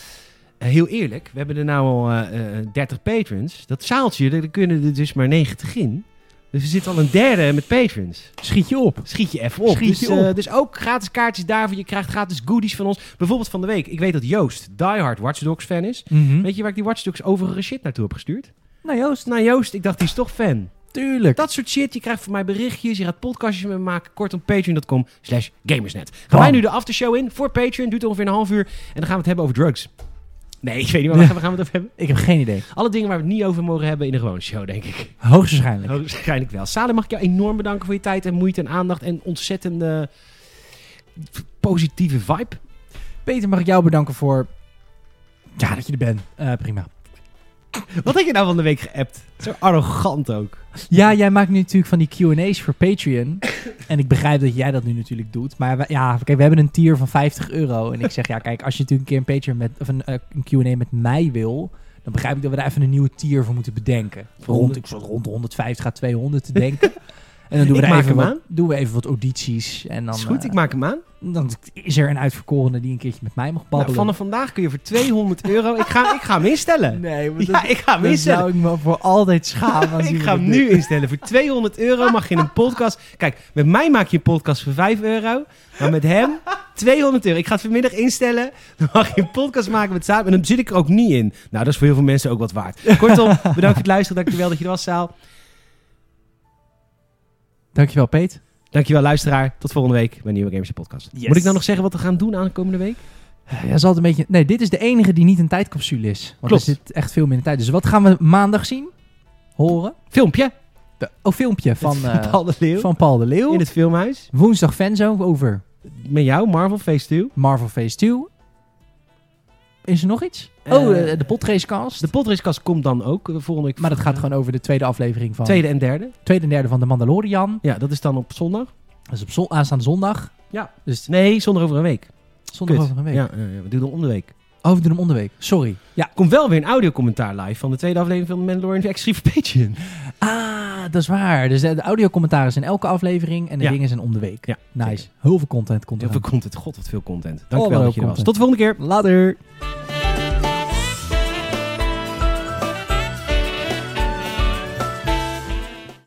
[SPEAKER 2] Eh, heel eerlijk, we hebben er nou al eh, eh, 30 patrons. Dat zaaltje, daar kunnen er dus maar 90 in. Dus er zit al een derde met patrons.
[SPEAKER 1] Schiet je op.
[SPEAKER 2] Schiet je even op.
[SPEAKER 1] Schiet
[SPEAKER 2] dus,
[SPEAKER 1] je
[SPEAKER 2] eh,
[SPEAKER 1] op.
[SPEAKER 2] dus ook gratis kaartjes daarvoor. Je krijgt gratis goodies van ons. Bijvoorbeeld van de week. Ik weet dat Joost diehard Watch Dogs fan is. Weet je waar ik die Watch Dogs overige shit naartoe heb gestuurd?
[SPEAKER 1] Nou Joost,
[SPEAKER 2] Nou Joost, ik dacht die is toch fan.
[SPEAKER 1] tuurlijk.
[SPEAKER 2] Dat soort shit. Je krijgt van mij berichtjes. Je gaat podcastjes met me maken. Kort op patreon.com slash gamersnet. Gaan
[SPEAKER 1] Bam.
[SPEAKER 2] wij nu de aftershow in voor Patreon. Duurt ongeveer een half uur. En dan gaan we het hebben over drugs. Nee, ik weet niet waar we gaan we het over hebben.
[SPEAKER 1] Ik heb geen idee.
[SPEAKER 2] Alle dingen waar we het niet over mogen hebben in de gewone show, denk ik.
[SPEAKER 1] Hoogstwaarschijnlijk.
[SPEAKER 2] Oh, Waarschijnlijk wel. Salem, mag ik jou enorm bedanken voor je tijd en moeite en aandacht en ontzettende positieve vibe.
[SPEAKER 1] Peter, mag ik jou bedanken voor... Ja, dat je er bent. Eh, prima.
[SPEAKER 2] Wat heb je nou van de week geappt? Zo arrogant ook.
[SPEAKER 1] Ja, jij maakt nu natuurlijk van die Q&A's voor Patreon. en ik begrijp dat jij dat nu natuurlijk doet. Maar we- ja, kijk, we hebben een tier van 50 euro. En ik zeg, ja, kijk, als je natuurlijk een keer een, Patreon met, of een, eh, een Q&A met mij wil... dan begrijp ik dat we daar even een nieuwe tier voor moeten bedenken. Rond, ik zat rond de 150 à 200 te denken. en dan doen we,
[SPEAKER 2] Ik
[SPEAKER 1] daar
[SPEAKER 2] maak
[SPEAKER 1] even
[SPEAKER 2] hem
[SPEAKER 1] wat,
[SPEAKER 2] aan.
[SPEAKER 1] doen we even wat audities. En dan,
[SPEAKER 2] is goed,
[SPEAKER 1] eh,
[SPEAKER 2] ik maak hem aan.
[SPEAKER 1] dan is er een uitverkorene die een keertje met mij mag
[SPEAKER 2] Nou,
[SPEAKER 1] babbelen.
[SPEAKER 2] vanaf vandaag kun je voor 200 euro... Ik ga, ik ga hem instellen.
[SPEAKER 1] Nee, maar
[SPEAKER 2] Ja,
[SPEAKER 1] dat,
[SPEAKER 2] ik ga hem
[SPEAKER 1] dat
[SPEAKER 2] instellen.
[SPEAKER 1] zou ik me voor altijd schamen. als
[SPEAKER 2] Ik
[SPEAKER 1] iemand
[SPEAKER 2] ga hem
[SPEAKER 1] dat doet.
[SPEAKER 2] nu instellen. Voor 200 euro mag je een podcast... Kijk, met mij maak je een podcast voor 5 euro. Maar met hem 200 euro. Ik ga het vanmiddag instellen. Dan mag je een podcast maken met Saal. En dan zit ik er ook niet in. Nou, dat is voor heel veel mensen ook wat waard. Kortom, bedankt voor het luisteren. Dankjewel dat je er was, Saal.
[SPEAKER 1] Dankjewel, Peet.
[SPEAKER 2] Dankjewel, luisteraar. Tot volgende week bij een nieuwe Gamers Podcast.
[SPEAKER 1] Yes.
[SPEAKER 2] Moet ik nou nog zeggen wat we gaan doen aan de komende week?
[SPEAKER 1] Ja, zal het een beetje... Nee, dit is de enige die niet een tijdcapsule is. Want
[SPEAKER 2] Klopt.
[SPEAKER 1] er zit echt veel minder tijd. Dus wat gaan we maandag zien? Horen?
[SPEAKER 2] Filmpje
[SPEAKER 1] De, oh, filmpje van,
[SPEAKER 2] van
[SPEAKER 1] eh,
[SPEAKER 2] Paul de Leeuw
[SPEAKER 1] van Paul de Leeuw.
[SPEAKER 2] in het filmhuis.
[SPEAKER 1] Woensdag fanzone over
[SPEAKER 2] Met jou, Marvel Phase 2.
[SPEAKER 1] Marvel Phase 2. Is er nog iets?
[SPEAKER 2] Eh,
[SPEAKER 1] oh, eh, de podracecast.
[SPEAKER 2] De podracecast komt dan ook eh, volgende week.
[SPEAKER 1] maar dat gaat gewoon over de tweede aflevering van...
[SPEAKER 2] Tweede en derde.
[SPEAKER 1] tweede en derde van De Mandalorian.
[SPEAKER 2] Ja, dat is dan op zondag.
[SPEAKER 1] Dat is op zon, aanstaande zondag.
[SPEAKER 2] Ja.
[SPEAKER 1] Dus
[SPEAKER 2] Nee, zondag over een week.
[SPEAKER 1] zondag
[SPEAKER 2] Kut.
[SPEAKER 1] over een week.
[SPEAKER 2] Ja, ja, ja, we doen hem om de week.
[SPEAKER 1] Oh, we doen hem onderweek. Sorry. Ja.
[SPEAKER 2] Er komt wel weer een audiocommentaar live van de tweede aflevering van Mandalorian Exclusive Patreon.
[SPEAKER 1] Ah, dat is waar. Dus de, de audiocommentaren zijn elke aflevering en de
[SPEAKER 2] Ja.
[SPEAKER 1] dingen zijn om de week.
[SPEAKER 2] Ja,
[SPEAKER 1] Nice. Heel veel content komt
[SPEAKER 2] Heel
[SPEAKER 1] er.
[SPEAKER 2] veel content. God, wat veel content.
[SPEAKER 1] Oh,
[SPEAKER 2] Dankjewel
[SPEAKER 1] wel
[SPEAKER 2] dat je er was.
[SPEAKER 1] content.
[SPEAKER 2] Tot de volgende keer.
[SPEAKER 1] Later.